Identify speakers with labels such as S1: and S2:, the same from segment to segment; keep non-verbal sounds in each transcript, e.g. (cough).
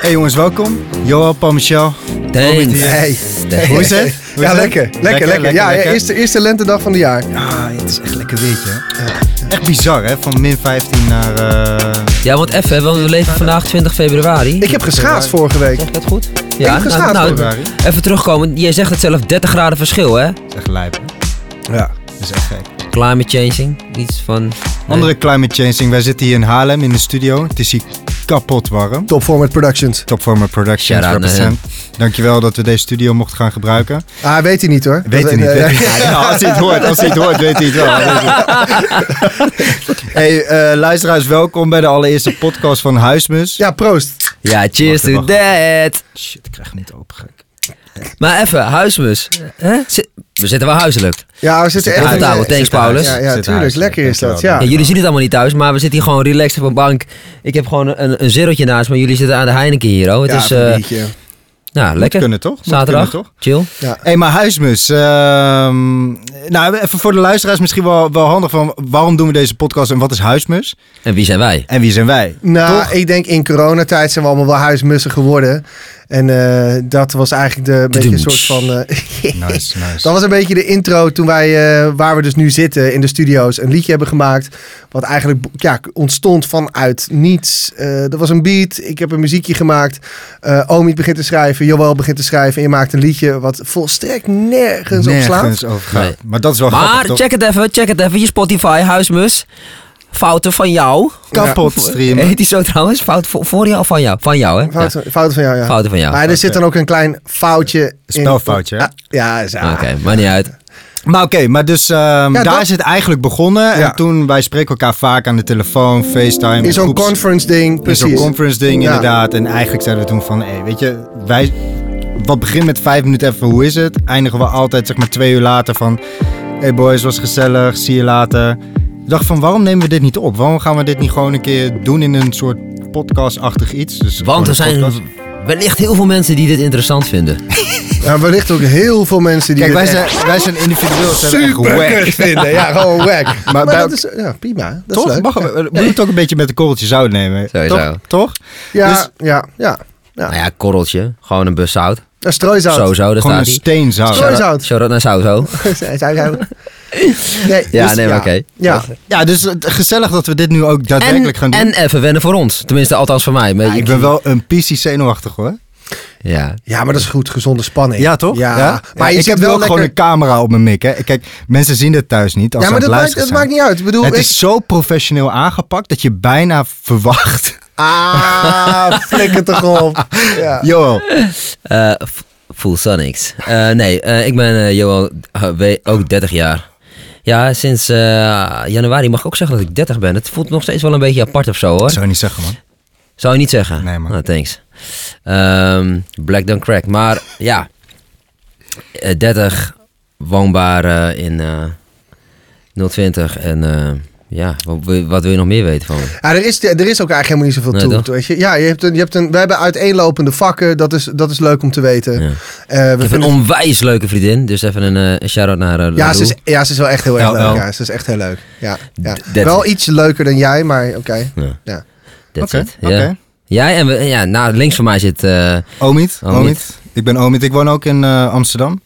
S1: Hey jongens, welkom. Johan, Paul, Michel.
S2: Thanks.
S3: Hey.
S2: Thanks.
S1: Hoe is het? Hoe is
S3: Ja,
S1: het?
S3: lekker. Lekker, lekker. ja, ja,
S1: lekker.
S3: Eerste, eerste lentedag van het jaar.
S1: Ah, het is echt lekker weertje. hè? Echt bizar, hè? Van min 15 naar... eh,
S2: Ja, want even, hè, want we leven vandaag 20 februari.
S3: Ik heb geschaatst vorige week.
S2: Zeg ik dat goed?
S3: heb geschaatst
S2: nou, nou,
S1: februari.
S2: even terugkomen. Jij zegt het zelf, 30 graden verschil, hè?
S1: Het is echt lijp, hè?
S3: Ja.
S1: Het is echt gek.
S2: Climate changing, iets van... nee.
S1: Andere climate changing. Wij zitten hier in Haarlem in de studio. Het is hier kapot warm.
S3: Top Format Productions.
S1: Topformer Productions
S2: Shout-out naar
S1: represent. Dankjewel dat we deze studio mochten gaan gebruiken.
S3: Ah, weet hij niet hoor.
S1: Weet
S3: Dat-
S1: hij niet,
S3: eh,
S1: weet hij niet. (laughs) Ja, als hij het hoort, als hij het hoort, weet hij het wel. (laughs) hey, eh, luisteraars, welkom bij de allereerste podcast van Huismus.
S3: Ja, proost.
S2: Ja, cheers
S1: Wacht,
S2: to that.
S1: Shit, ik krijg hem niet open, gek.
S2: Maar even, huismus. Hè? Zit- We zitten wel huiselijk.
S3: Ja, we zitten echt...
S2: Comfortabel,
S3: in-
S2: thanks Paulus.
S3: Ja, ja,
S1: Zit
S3: tuurlijk.
S1: huis.
S3: Lekker is dat,
S1: Dankjewel.
S3: ja.
S2: Ja, jullie zien het allemaal niet thuis, maar we zitten hier gewoon relaxed op een bank. Ik heb gewoon een, een zerrotje naast me. Jullie zitten aan de Heineken hier, hoor. Het
S3: Ja,
S2: is,
S3: een
S2: eh,
S3: biertje.
S2: nou, lekker.
S1: kunnen toch? Moet
S2: Zaterdag,
S1: kunnen, toch?
S2: chill.
S1: hey, maar Huismus. ehm, nou, even voor de luisteraars misschien wel, wel handig van waarom doen we deze podcast en wat is Huismus?
S2: En wie zijn wij?
S1: En wie zijn
S3: (laughs)
S1: wij?
S3: Nou, ik denk in coronatijd zijn we allemaal wel huismussen geworden. En eh, dat was eigenlijk de beetje een soort van... eh,
S1: Nice,
S3: Dat
S1: nice.
S3: was een beetje de intro toen wij, eh, waar we dus nu zitten in de studio's, een liedje hebben gemaakt. Wat eigenlijk ja, ontstond vanuit niets. Eh er was een beat, ik heb een muziekje gemaakt. Eh Omid begint te schrijven, Joël begint te schrijven. En je maakt een liedje wat volstrekt nergens, op slaat.
S1: Nergens over gaat.
S2: Nee.
S1: Maar dat is wel
S2: Maar
S1: grappig, toch?
S2: check het even, check het even. Je Spotify, huismus. Fouten van jou.
S1: Kapot streamen.
S2: Heet die zo trouwens? Fout voor, voor jou of van jou? Van jou, hè?
S3: Fouten, fouten van jou,
S2: Ja,
S3: ja.
S2: Fouten van jou.
S3: Maar
S2: Oké,
S3: er zit dan ook een klein foutje in.
S1: spelfoutje, hè?
S3: Ah, Ja, is- ah.
S2: maar niet uit.
S1: Maar oké, maar dus ehm, daar
S3: dat-
S1: is het eigenlijk begonnen.
S3: Ja.
S1: En toen, wij spreken elkaar vaak aan de telefoon, FaceTime.
S3: In zo'n
S1: groeps-
S3: conference ding,
S1: In zo'n
S3: precies.
S1: conference ding
S3: Ja.
S1: inderdaad. En eigenlijk zeiden we toen van, hey, weet je, wij... Wat begint met vijf minuten even, hoe is het? Eindigen we altijd zeg maar twee uur later van... Hey boys, was gezellig, zie je later. Ik dacht van, waarom nemen we dit niet op? Waarom gaan we dit niet gewoon een keer doen in een soort podcastachtig iets? Dus gewoon
S2: Want er
S1: een
S2: zijn
S1: podcast.
S2: wellicht heel veel mensen die dit interessant vinden.
S3: Ja, wellicht ook heel veel mensen die
S1: Kijk, wij
S3: dit echt
S1: zijn, wij zijn individueel. Zijn we echt
S3: super
S1: wack.
S3: kut vinden. Ja, gewoon wack. Maar,
S1: bij-
S3: dat is ja, prima. Dat is
S1: Toch?
S3: leuk.
S1: Mag, moet je het ook een beetje met een korreltje zout nemen?
S2: Sowieso.
S1: Toch? Toch?
S3: Ja,
S1: Dus-
S3: ja, ja.
S2: Nou ja, korreltje. Gewoon een bus zout.
S3: Ja, strooisout.
S2: Zo,
S3: (laughs)
S2: zo, daar
S1: Gewoon een
S2: staat hij.
S1: steen zout.
S3: Sorry.
S2: Shout-out
S3: Strooisout.
S2: shout-out naar Sauzo.
S3: Zij- zij- zij- nee,
S2: Ja,
S3: dus-
S2: nee, maar oké.
S3: Ja.
S1: Ja, dus eh, gezellig dat we dit nu ook
S2: En,
S1: daadwerkelijk gaan doen.
S2: en even wennen voor ons. Tenminste, althans voor mij. Een
S1: Ja,
S2: beetje-
S1: ik ben wel een PC zenuwachtig hoor.
S2: Ja.
S3: ja, maar dat is goed. Gezonde spanning. Ja, maar
S1: Maar
S3: je
S1: ik
S3: zit
S1: heb
S3: wel
S1: wel
S3: lekker...
S1: gewoon een camera op mijn mik. Hè. Kijk, mensen zien dit thuis niet. Als
S3: Ja,
S1: ze
S3: maar
S1: aan
S3: dat
S1: het
S3: maakt,
S1: luisteren
S3: dat maakt niet uit. Ik bedoel,
S1: zijn. Het
S3: ik...
S1: is zo professioneel aangepakt dat je bijna verwacht.
S3: (laughs) Ah, flikker toch op. Ja.
S1: Joel,
S2: Eh, F- Full Sonics. Eh, nee, eh, ik ben eh, Johan, eh, we- ook 30 jaar. Ja, sinds eh, januari mag ik ook zeggen dat ik 30 ben. Het voelt nog steeds wel een beetje apart of zo hoor.
S1: dat zou je niet zeggen man.
S2: Zou je niet zeggen?
S1: Nee, man.
S2: Nou, thanks. Ehm, black don't crack. Maar ja, Eh, 30, woonbaar eh, in eh 020. En eh, ja, wat, wil- wat wil je nog meer weten van me?
S3: Ja, er, is, er is ook eigenlijk helemaal niet zoveel
S2: Nee,
S3: toe.
S2: toch?
S3: Weet je? Ja, je hebt een, je hebt een, we hebben uiteenlopende vakken. Dat is, dat is leuk om te weten.
S2: Ja.
S3: Eh,
S2: Ik
S3: we
S2: heb een
S3: (laughs) vinden-
S2: onwijs leuke vriendin. Dus even een eh, een shout-out naar eh,
S3: ja, ze
S2: Lou.
S3: is, ja, ze is wel echt heel erg
S1: Nou,
S3: leuk.
S1: wel.
S3: Ja, ze is echt heel leuk. Ja, ja.
S2: D- dat-
S3: Wel iets leuker dan jij, maar oké.
S2: Ja.
S3: Ja.
S2: That's
S1: Oké,
S2: it. Ja.
S1: oké.
S2: Jij en we, ja, nou, links van mij zit... eh,
S1: Omid,
S2: Omid.
S1: Omid. Ik ben Omid. Ik woon ook in eh, Amsterdam.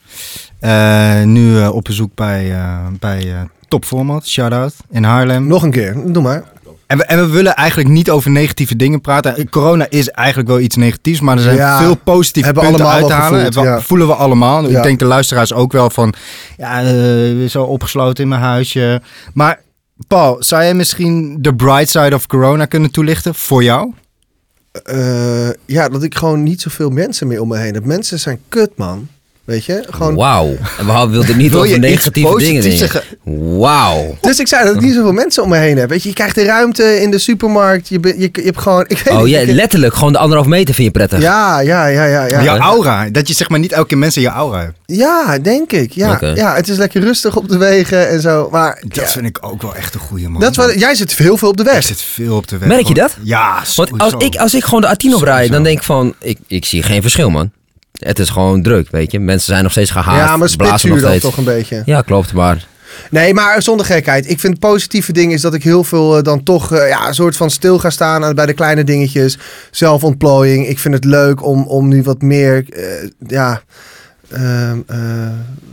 S1: Eh, nu eh, op bezoek bij, eh bij eh, Top Format, shout-out, in Haarlem.
S3: Nog een keer, doe maar.
S1: En we, en we willen eigenlijk niet over negatieve dingen praten. Eh, Corona is eigenlijk wel iets negatiefs, maar er zijn
S3: Ja,
S1: veel positieve
S3: hebben
S1: punten
S3: allemaal
S1: uit te
S3: wel
S1: halen.
S3: gevoeld,
S1: Hebben we-
S3: ja.
S1: Voelen we allemaal.
S3: Ja.
S1: Ik denk de luisteraars ook wel van, ja, eh, zo opgesloten in mijn huisje. Maar Paul, zou jij misschien de bright side of corona kunnen toelichten voor jou?
S3: Eh, ja, dat ik gewoon niet zoveel mensen meer om me heen heb. Mensen zijn kut, man. Weet je? Gewoon...
S2: Wauw. En we hadden- wilden niet
S1: Wil je
S2: over
S1: iets
S2: negatieve dingen
S1: positiefs
S2: dingen. Wauw.
S3: Dus ik zei dat ik niet zoveel mensen om me heen heb. Weet je, je krijgt de ruimte in de supermarkt. Je, ben- je, je hebt gewoon... Ik weet
S2: Oh
S3: niet,
S2: ja,
S3: ik-
S2: letterlijk. Gewoon de anderhalf meter vind je prettig.
S3: ja, ja, ja, ja, ja.
S1: Jouw aura. Dat je zeg maar niet elke keer mensen jouw aura hebt.
S3: Ja, denk ik. Ja,
S2: Oké.
S3: ja, het is lekker rustig op de wegen en zo. Maar
S1: Dat
S3: ja,
S1: vind ik ook wel echt een goeie man.
S3: dat is wel- jij zit heel veel op de
S1: Er
S3: weg.
S1: zit veel op de weg.
S2: Merk je dat?
S1: Ja,
S2: Want als
S1: sowieso.
S2: ik, als ik gewoon de A10 oprijd, dan denk ik van... Ik, ik zie geen verschil, man. Het is gewoon druk, weet je. Mensen zijn nog steeds gehaald.
S3: Ja, maar
S2: blazen nog
S3: spitsuur dan
S2: steeds.
S3: toch een beetje.
S2: Ja, klopt. Maar
S3: Nee, maar zonder gekheid. Ik vind het positieve ding is dat ik heel veel eh, dan toch eh, ja, een soort van stil ga staan aan, bij de kleine dingetjes. Zelfontplooiing. Ik vind het leuk om, om nu wat meer. eh, ja. ehm, eh,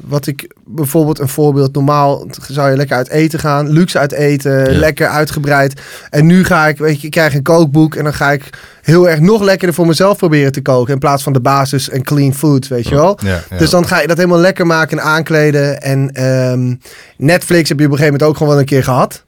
S3: wat ik bijvoorbeeld een voorbeeld. Normaal zou je lekker uit eten gaan. Luxe uit eten.
S2: Ja.
S3: Lekker uitgebreid. En nu ga ik, weet je, ik krijg een kookboek. En dan ga ik heel erg nog lekkerder voor mezelf proberen te koken. In plaats van de basis en clean food, weet je wel.
S1: Ja, ja.
S3: Dus dan ga je dat helemaal lekker maken en aankleden. En ehm, Netflix heb je op een gegeven moment ook gewoon wel een keer gehad.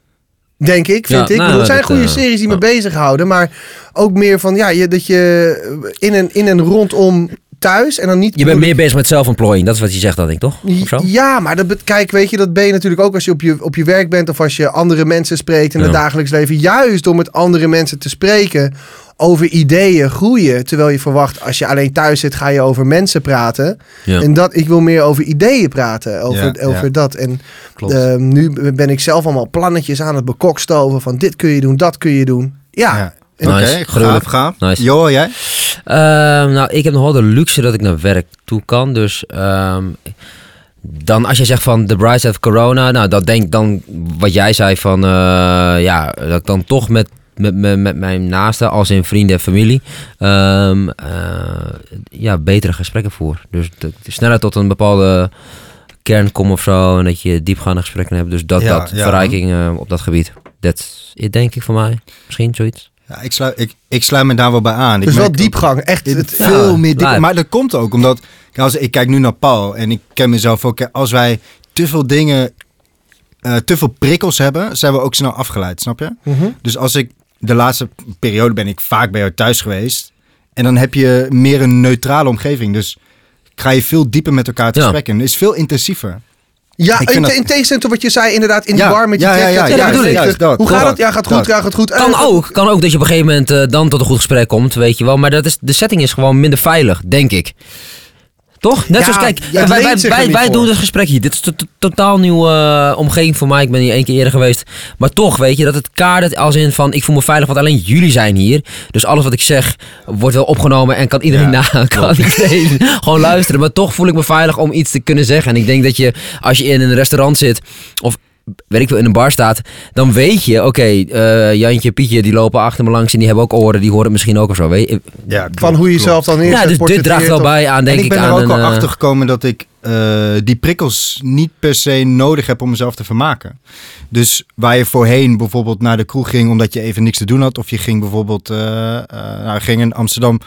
S3: Denk ik,
S2: Ja,
S3: vind ik.
S2: nou,
S3: Ik bedoel, er zijn
S2: dat,
S3: goede
S2: eh,
S3: series die me
S2: ja.
S3: bezighouden. Maar ook meer van, ja, je, dat je in en, in en rondom thuis en dan niet...
S2: Je bent meer bezig met zelfontplooiing, dat is wat je zegt, dan ik toch? Of zo?
S3: Ja, maar dat, bet- kijk, weet je, dat ben je natuurlijk ook als je op je, op je werk bent of als je andere mensen spreekt in het
S2: Ja.
S3: dagelijks leven. Juist om met andere mensen te spreken over ideeën, groeien. Terwijl je verwacht, als je alleen thuis zit, ga je over mensen praten.
S2: Ja.
S3: En dat, ik wil meer over ideeën praten, over,
S1: Ja,
S3: over
S1: ja.
S3: dat. En
S2: Klopt.
S3: ehm, nu ben ik zelf allemaal plannetjes aan het bekokstoven van dit kun je doen, dat kun je doen. Ja,
S1: Ja. Oké,
S2: Nice.
S1: gaaf,
S2: Gruwelijk.
S1: gaaf.
S2: Nice.
S1: Jo, jij?
S2: Ehm, nou, ik heb nog wel de luxe dat ik naar werk toe kan. Dus ehm, dan als je zegt van The Bride of Corona, nou, dat denk dan wat jij zei van eh, ja, dat ik dan toch met, met, met, met mijn naasten, als in vrienden en familie, ehm, eh, ja, betere gesprekken voer. Dus dat ik sneller tot een bepaalde kern kom of zo en dat je diepgaande gesprekken hebt. Dus dat,
S1: Ja,
S2: dat
S1: ja.
S2: verrijking eh, op dat gebied. Dat is denk ik voor mij. Misschien zoiets.
S1: Ja, ik, sluit, ik, ik sluit me daar wel bij aan. Ik
S3: dus wel
S1: merk ook-
S3: diepgang. Echt,
S1: Dit-
S3: het,
S1: veel
S2: ja,
S1: meer diep.
S2: live.
S1: Maar dat komt ook omdat, kijk, als, ik kijk nu naar Paul en ik ken mezelf ook. hè, Als wij te veel dingen, eh, te veel prikkels hebben, zijn we ook snel afgeleid, snap je?
S3: Mhm.
S1: Dus als ik, de laatste periode ben ik vaak bij jou thuis geweest. En dan heb je meer een neutrale omgeving. Dus ga je veel dieper met elkaar te
S2: Ja.
S1: gesprek in. Het is veel intensiever.
S3: Ja,
S1: Ik
S3: in,
S1: vind
S3: te-
S1: dat-
S3: in tegenstelling tot wat je zei, inderdaad, in die
S1: Ja,
S3: war met die
S1: ja, ja,
S3: trek-
S1: ja,
S3: dat-
S2: ja,
S3: dat-
S2: bedoel ik.
S1: Juist dat,
S3: Hoe gaat
S1: dat,
S3: het? Ja, gaat goed,
S1: dat.
S3: ja, gaat goed. Eh,
S2: Kan
S3: dat-
S2: ook. Kan ook dat je op een gegeven moment eh, dan tot een goed gesprek komt, weet je wel. Maar dat is, de setting is gewoon minder veilig, denk ik. Toch? Net
S3: Ja,
S2: zoals, kijk,
S3: ja,
S2: wij,
S3: het
S2: wij,
S3: leent zich er
S2: wij,
S3: niet
S2: wij
S3: voor.
S2: doen dit gesprek hier. Dit is een to- totaal nieuwe eh, omgeving voor mij. Ik ben hier één keer eerder geweest. Maar toch, weet je, dat het kadert als in van... ik voel me veilig, want alleen jullie zijn hier. Dus alles wat ik zeg wordt wel opgenomen en kan iedereen
S1: Ja,
S2: na... kan iedereen (laughs) gewoon luisteren. Maar toch voel ik me veilig om iets te kunnen zeggen. En ik denk dat je, als je in een restaurant zit... of weet ik veel, in een bar staat, dan weet je, oké, eh, Jantje, Pietje, die lopen achter me langs en die hebben ook oren, die horen het misschien ook of zo. Weet je?
S1: Ja,
S3: Van hoe je jezelf dan neerzet.
S2: Ja, dus dit draagt
S3: portretteert
S2: wel
S3: of-
S2: bij aan, denk
S1: en ik ben
S2: aan
S1: er ook
S2: een,
S1: al
S2: eh,
S1: achter gekomen dat ik eh, die prikkels niet per se nodig heb om mezelf te vermaken. Dus waar je voorheen bijvoorbeeld naar de kroeg ging omdat je even niks te doen had, of je ging bijvoorbeeld, eh, eh, nou, ging in Amsterdam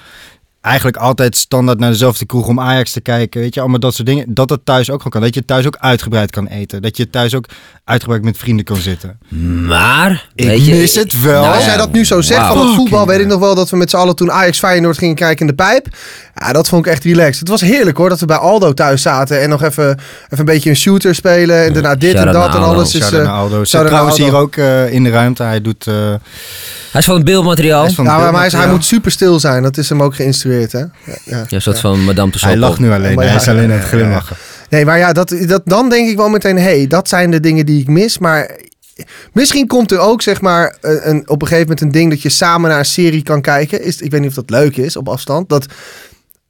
S1: eigenlijk altijd standaard naar dezelfde kroeg om Ajax te kijken, weet je, allemaal dat soort dingen. Dat dat thuis ook gewoon kan. Dat je thuis ook uitgebreid kan eten, dat je thuis ook uitgebreid met vrienden kan zitten.
S2: Maar,
S1: Ik
S2: weet je,
S1: mis het wel.
S2: Nou
S3: Als jij
S2: ja,
S3: dat nu zo zegt
S2: wauw.
S3: van het voetbal,
S1: Fucking
S3: weet ik nog wel dat we met z'n allen toen Ajax Feyenoord gingen kijken in de pijp. Ja, dat vond ik echt relaxed. Het was heerlijk hoor, dat we bij Aldo thuis zaten en nog even, even een beetje een shooter spelen en daarna dit en
S2: shout-out
S3: dat
S2: naar
S3: en
S2: Aldo.
S3: alles. is
S1: Shout-out naar
S3: eh
S1: Aldo. Zit
S3: shout-out
S1: trouwens
S3: naar
S1: hier ook eh, in de ruimte. Hij doet... eh,
S2: Hij is van het beeldmateriaal.
S1: hij is van
S3: ja, nou, maar
S1: beeld-
S3: hij, is- hij
S1: ja.
S3: moet super stil zijn. Dat is hem ook geïnstrueerd, hè? Ja, ja.
S2: Ja, een soort van Madame Tussauds.
S1: Hij lacht nu alleen.
S3: Maar ja,
S1: Hij is alleen
S3: ja,
S1: aan het glimlachen.
S3: Nee, maar ja, dat, dat, dan denk ik wel meteen, hé, hey, dat zijn de dingen die ik mis. Maar misschien komt er ook, zeg maar, een, een- op een gegeven moment een ding dat je samen naar een serie kan kijken. Is, ik weet niet of dat leuk is op afstand. Dat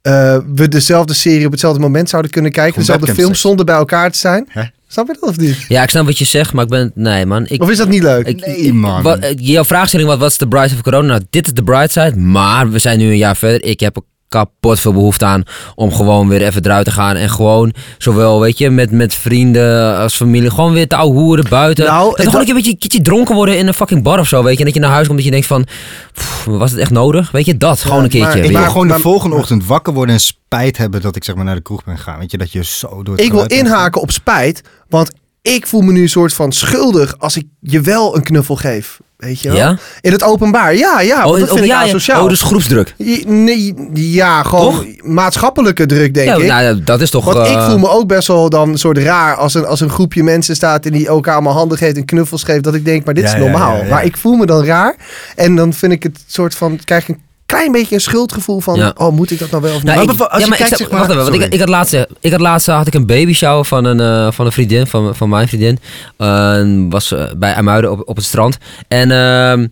S3: eh, we dezelfde serie op hetzelfde moment zouden kunnen kijken.
S1: Gewoon
S3: dezelfde
S1: webcams
S3: film
S2: dus.
S1: zetten.
S3: zonder bij elkaar te zijn.
S1: Hè?
S3: Snap je dat of niet?
S2: Ja, ik snap wat je zegt, maar ik ben... Nee, man. Ik,
S3: Of is dat niet leuk?
S2: ik,
S1: Oh, Nee,
S2: ik-
S1: man.
S2: wat- eh, jouw vraagstelling was, wat is de bright side of corona? Nou, dit is de bright side, maar we zijn nu een jaar verder. Ik heb er kapot veel behoefte aan om gewoon weer even eruit te gaan. En gewoon, zowel, weet je, met, met vrienden als familie, gewoon weer te ouwehoeren buiten.
S3: Nou,
S2: dat
S3: en
S2: er gewoon
S3: dat-
S2: een keer een beetje, een keertje dronken worden in een fucking bar of zo, weet je. En dat je naar huis komt en je denkt van, "Pff, was het echt nodig? Weet je, dat, gewoon een
S3: maar
S2: keertje.
S1: Ik
S2: weer.
S1: wil
S3: Maar-
S1: gewoon
S3: maar-
S1: de volgende ochtend wakker worden en spijt hebben dat ik zeg maar naar de kroeg ben gegaan. Weet je, dat je zo door het
S3: Ik wil
S1: geluid bent.
S3: inhaken op spijt, want ik voel me nu een soort van schuldig als ik je wel een knuffel geef. Weet je wel?
S2: Ja?
S3: In het openbaar. Ja, ja. want
S2: oh,
S3: dat
S2: oh,
S3: vind ik
S2: ja, ja.
S3: asociaal.
S2: oh, dus groepsdruk.
S3: Je- Nee, ja, gewoon maatschappelijke druk, denk
S2: Ja,
S3: ik.
S2: nou, ja, dat is toch...
S3: Want ik
S2: eh,
S3: voel me ook best wel dan een soort raar als een, als een groepje mensen staat en die elkaar allemaal handen geeft en knuffels geeft. Dat ik denk, maar dit
S1: Ja,
S3: is
S1: ja,
S3: normaal.
S1: ja, ja.
S3: Maar ik voel me dan raar. En dan vind ik het soort van, krijg ik een klein beetje een schuldgevoel van,
S2: Ja.
S3: oh, moet ik dat nou wel of niet?
S2: Nou,
S1: Maar
S2: ik-
S1: als je
S2: ja, maar ik
S1: kijkt,
S2: snap-
S1: zeg maar-
S2: wacht even, want ik,
S1: sorry.
S2: ik had laatst, ik had laatst eh, had ik een baby shower van een, eh, van een vriendin, van, van mijn vriendin. Eh, was eh, bij Amuiden op, op het strand. En ehm,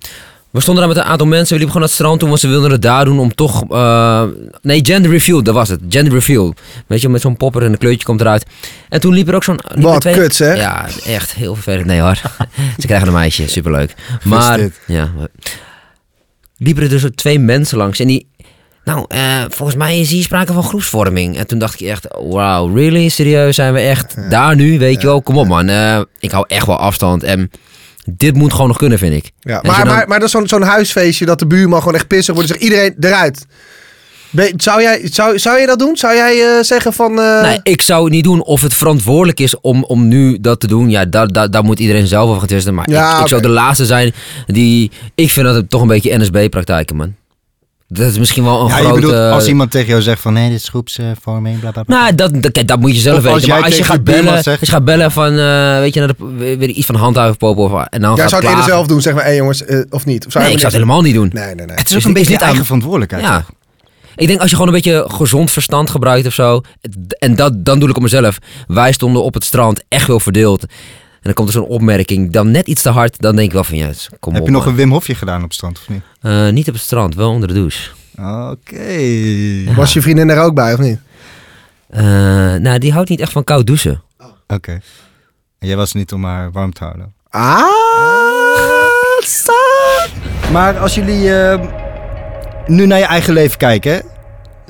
S2: We stonden daar met een aantal mensen, we liepen gewoon naar het strand toen, want ze wilden het daar doen om toch... eh, nee, gender reveal, dat was het. Gender reveal. Weet je, met zo'n popper en een kleurtje komt eruit. En toen liep er ook zo'n... liepen
S3: Wat
S2: twee-
S3: kuts, hè?
S2: Ja, echt heel vervelend. Nee hoor, (laughs) ze krijgen een meisje, superleuk. Maar,
S1: dit.
S2: ja, liepen er dus ook twee mensen langs en die... Nou, eh, volgens mij is hier sprake van groepsvorming. En toen dacht ik echt, wauw, really? Serieus? Zijn we echt daar nu? Weet je wel, kom op man. Eh, ik hou echt wel afstand en dit moet gewoon nog kunnen, vind ik.
S3: Ja,
S2: je
S3: maar,
S2: dan-
S3: maar, maar dat is zo'n zo'n huisfeestje dat de buurman gewoon echt pissig wordt. en Zegt iedereen eruit. Ben- zou, jij, zou, zou je dat doen? Zou jij eh, zeggen van... eh,
S2: Nee, ik zou het niet doen. Of het verantwoordelijk is om, om nu dat te doen, ja, daar, daar, daar moet iedereen zelf over gaan twisten. Maar
S3: Ja,
S2: ik, ik
S3: oké.
S2: zou de laatste zijn die... Ik vind dat het toch een beetje NSB-praktijken, man. Dat is misschien wel een
S1: Ja,
S2: grote...
S1: je bedoelt als iemand tegen jou zegt van nee, dit is groepsvorming, bla bla bla.
S2: Nou, dat, dat, kijk, dat moet je zelf
S1: Of als
S2: weten.
S1: jij
S2: maar als je
S1: tegen
S2: gaat
S1: de buurman
S2: bellen,
S1: zegt-
S2: als je gaat bellen van, eh, weet je, naar de, weer, weer iets van handhaven popen of, en dan gaat
S3: jij zou het eerder
S2: klagen.
S3: zelf doen, zeg maar. Hé jongens, eh, of niet? Of
S2: Nee, ik
S3: je
S2: zou het helemaal niet doen.
S3: Nee, nee, nee.
S1: het is ook
S2: is
S1: een
S2: dit-
S1: beetje je
S2: is dit
S1: eigen verantwoordelijkheid.
S2: Ja. Ik denk als je gewoon een beetje gezond verstand gebruikt of zo. d- En dat, dan doe ik op mezelf. Wij stonden op het strand echt wel verdeeld. En dan komt er zo'n opmerking, dan net iets te hard. Dan denk ik wel van, ja, kom
S1: Heb
S2: op.
S1: je nog
S2: man.
S1: een Wim Hofje gedaan op het strand of niet?
S2: Eh, niet op het strand, wel onder de douche.
S1: Oké.
S3: Was je vriendin daar ook bij, of niet?
S2: Eh, nou, die houdt niet echt van koud douchen.
S1: Oké. En jij was niet om haar warm te houden.
S3: Ah,
S1: Maar als jullie eh, nu naar je eigen leven kijken, hè?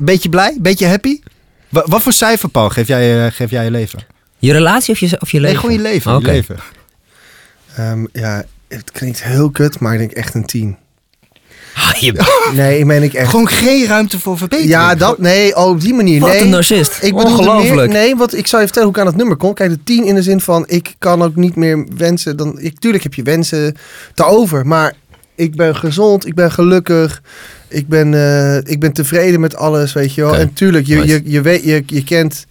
S1: beetje blij, beetje happy? Wa- wat voor cijfer, Paul, geef jij, eh, geef jij je leven?
S2: Je relatie of je, of je leven?
S1: Nee, gewoon je leven.
S2: Oké.
S1: Je leven.
S3: Ehm, ja, het klinkt heel kut, maar ik denk echt een 10.
S2: Ah,
S1: (laughs)
S2: je-
S3: Nee, ik meen ik echt.
S1: Gewoon geen ruimte voor verbetering.
S3: Ja, dat, nee, oh, op die manier.
S2: Wat
S3: nee.
S2: een narcist.
S3: Ik bedoel,
S2: Ongelooflijk.
S3: meer- nee, want ik zou je vertellen hoe ik aan het nummer kom. Kijk, de 10 in de zin van ik kan ook niet meer wensen. Dan, ik, tuurlijk heb je wensen te over, maar ik ben gezond, ik ben gelukkig. Ik ben, eh, ik ben tevreden met alles, weet je wel.
S2: Oké,
S3: En tuurlijk, je,
S2: nice.
S3: je, je, weet, je, je kent...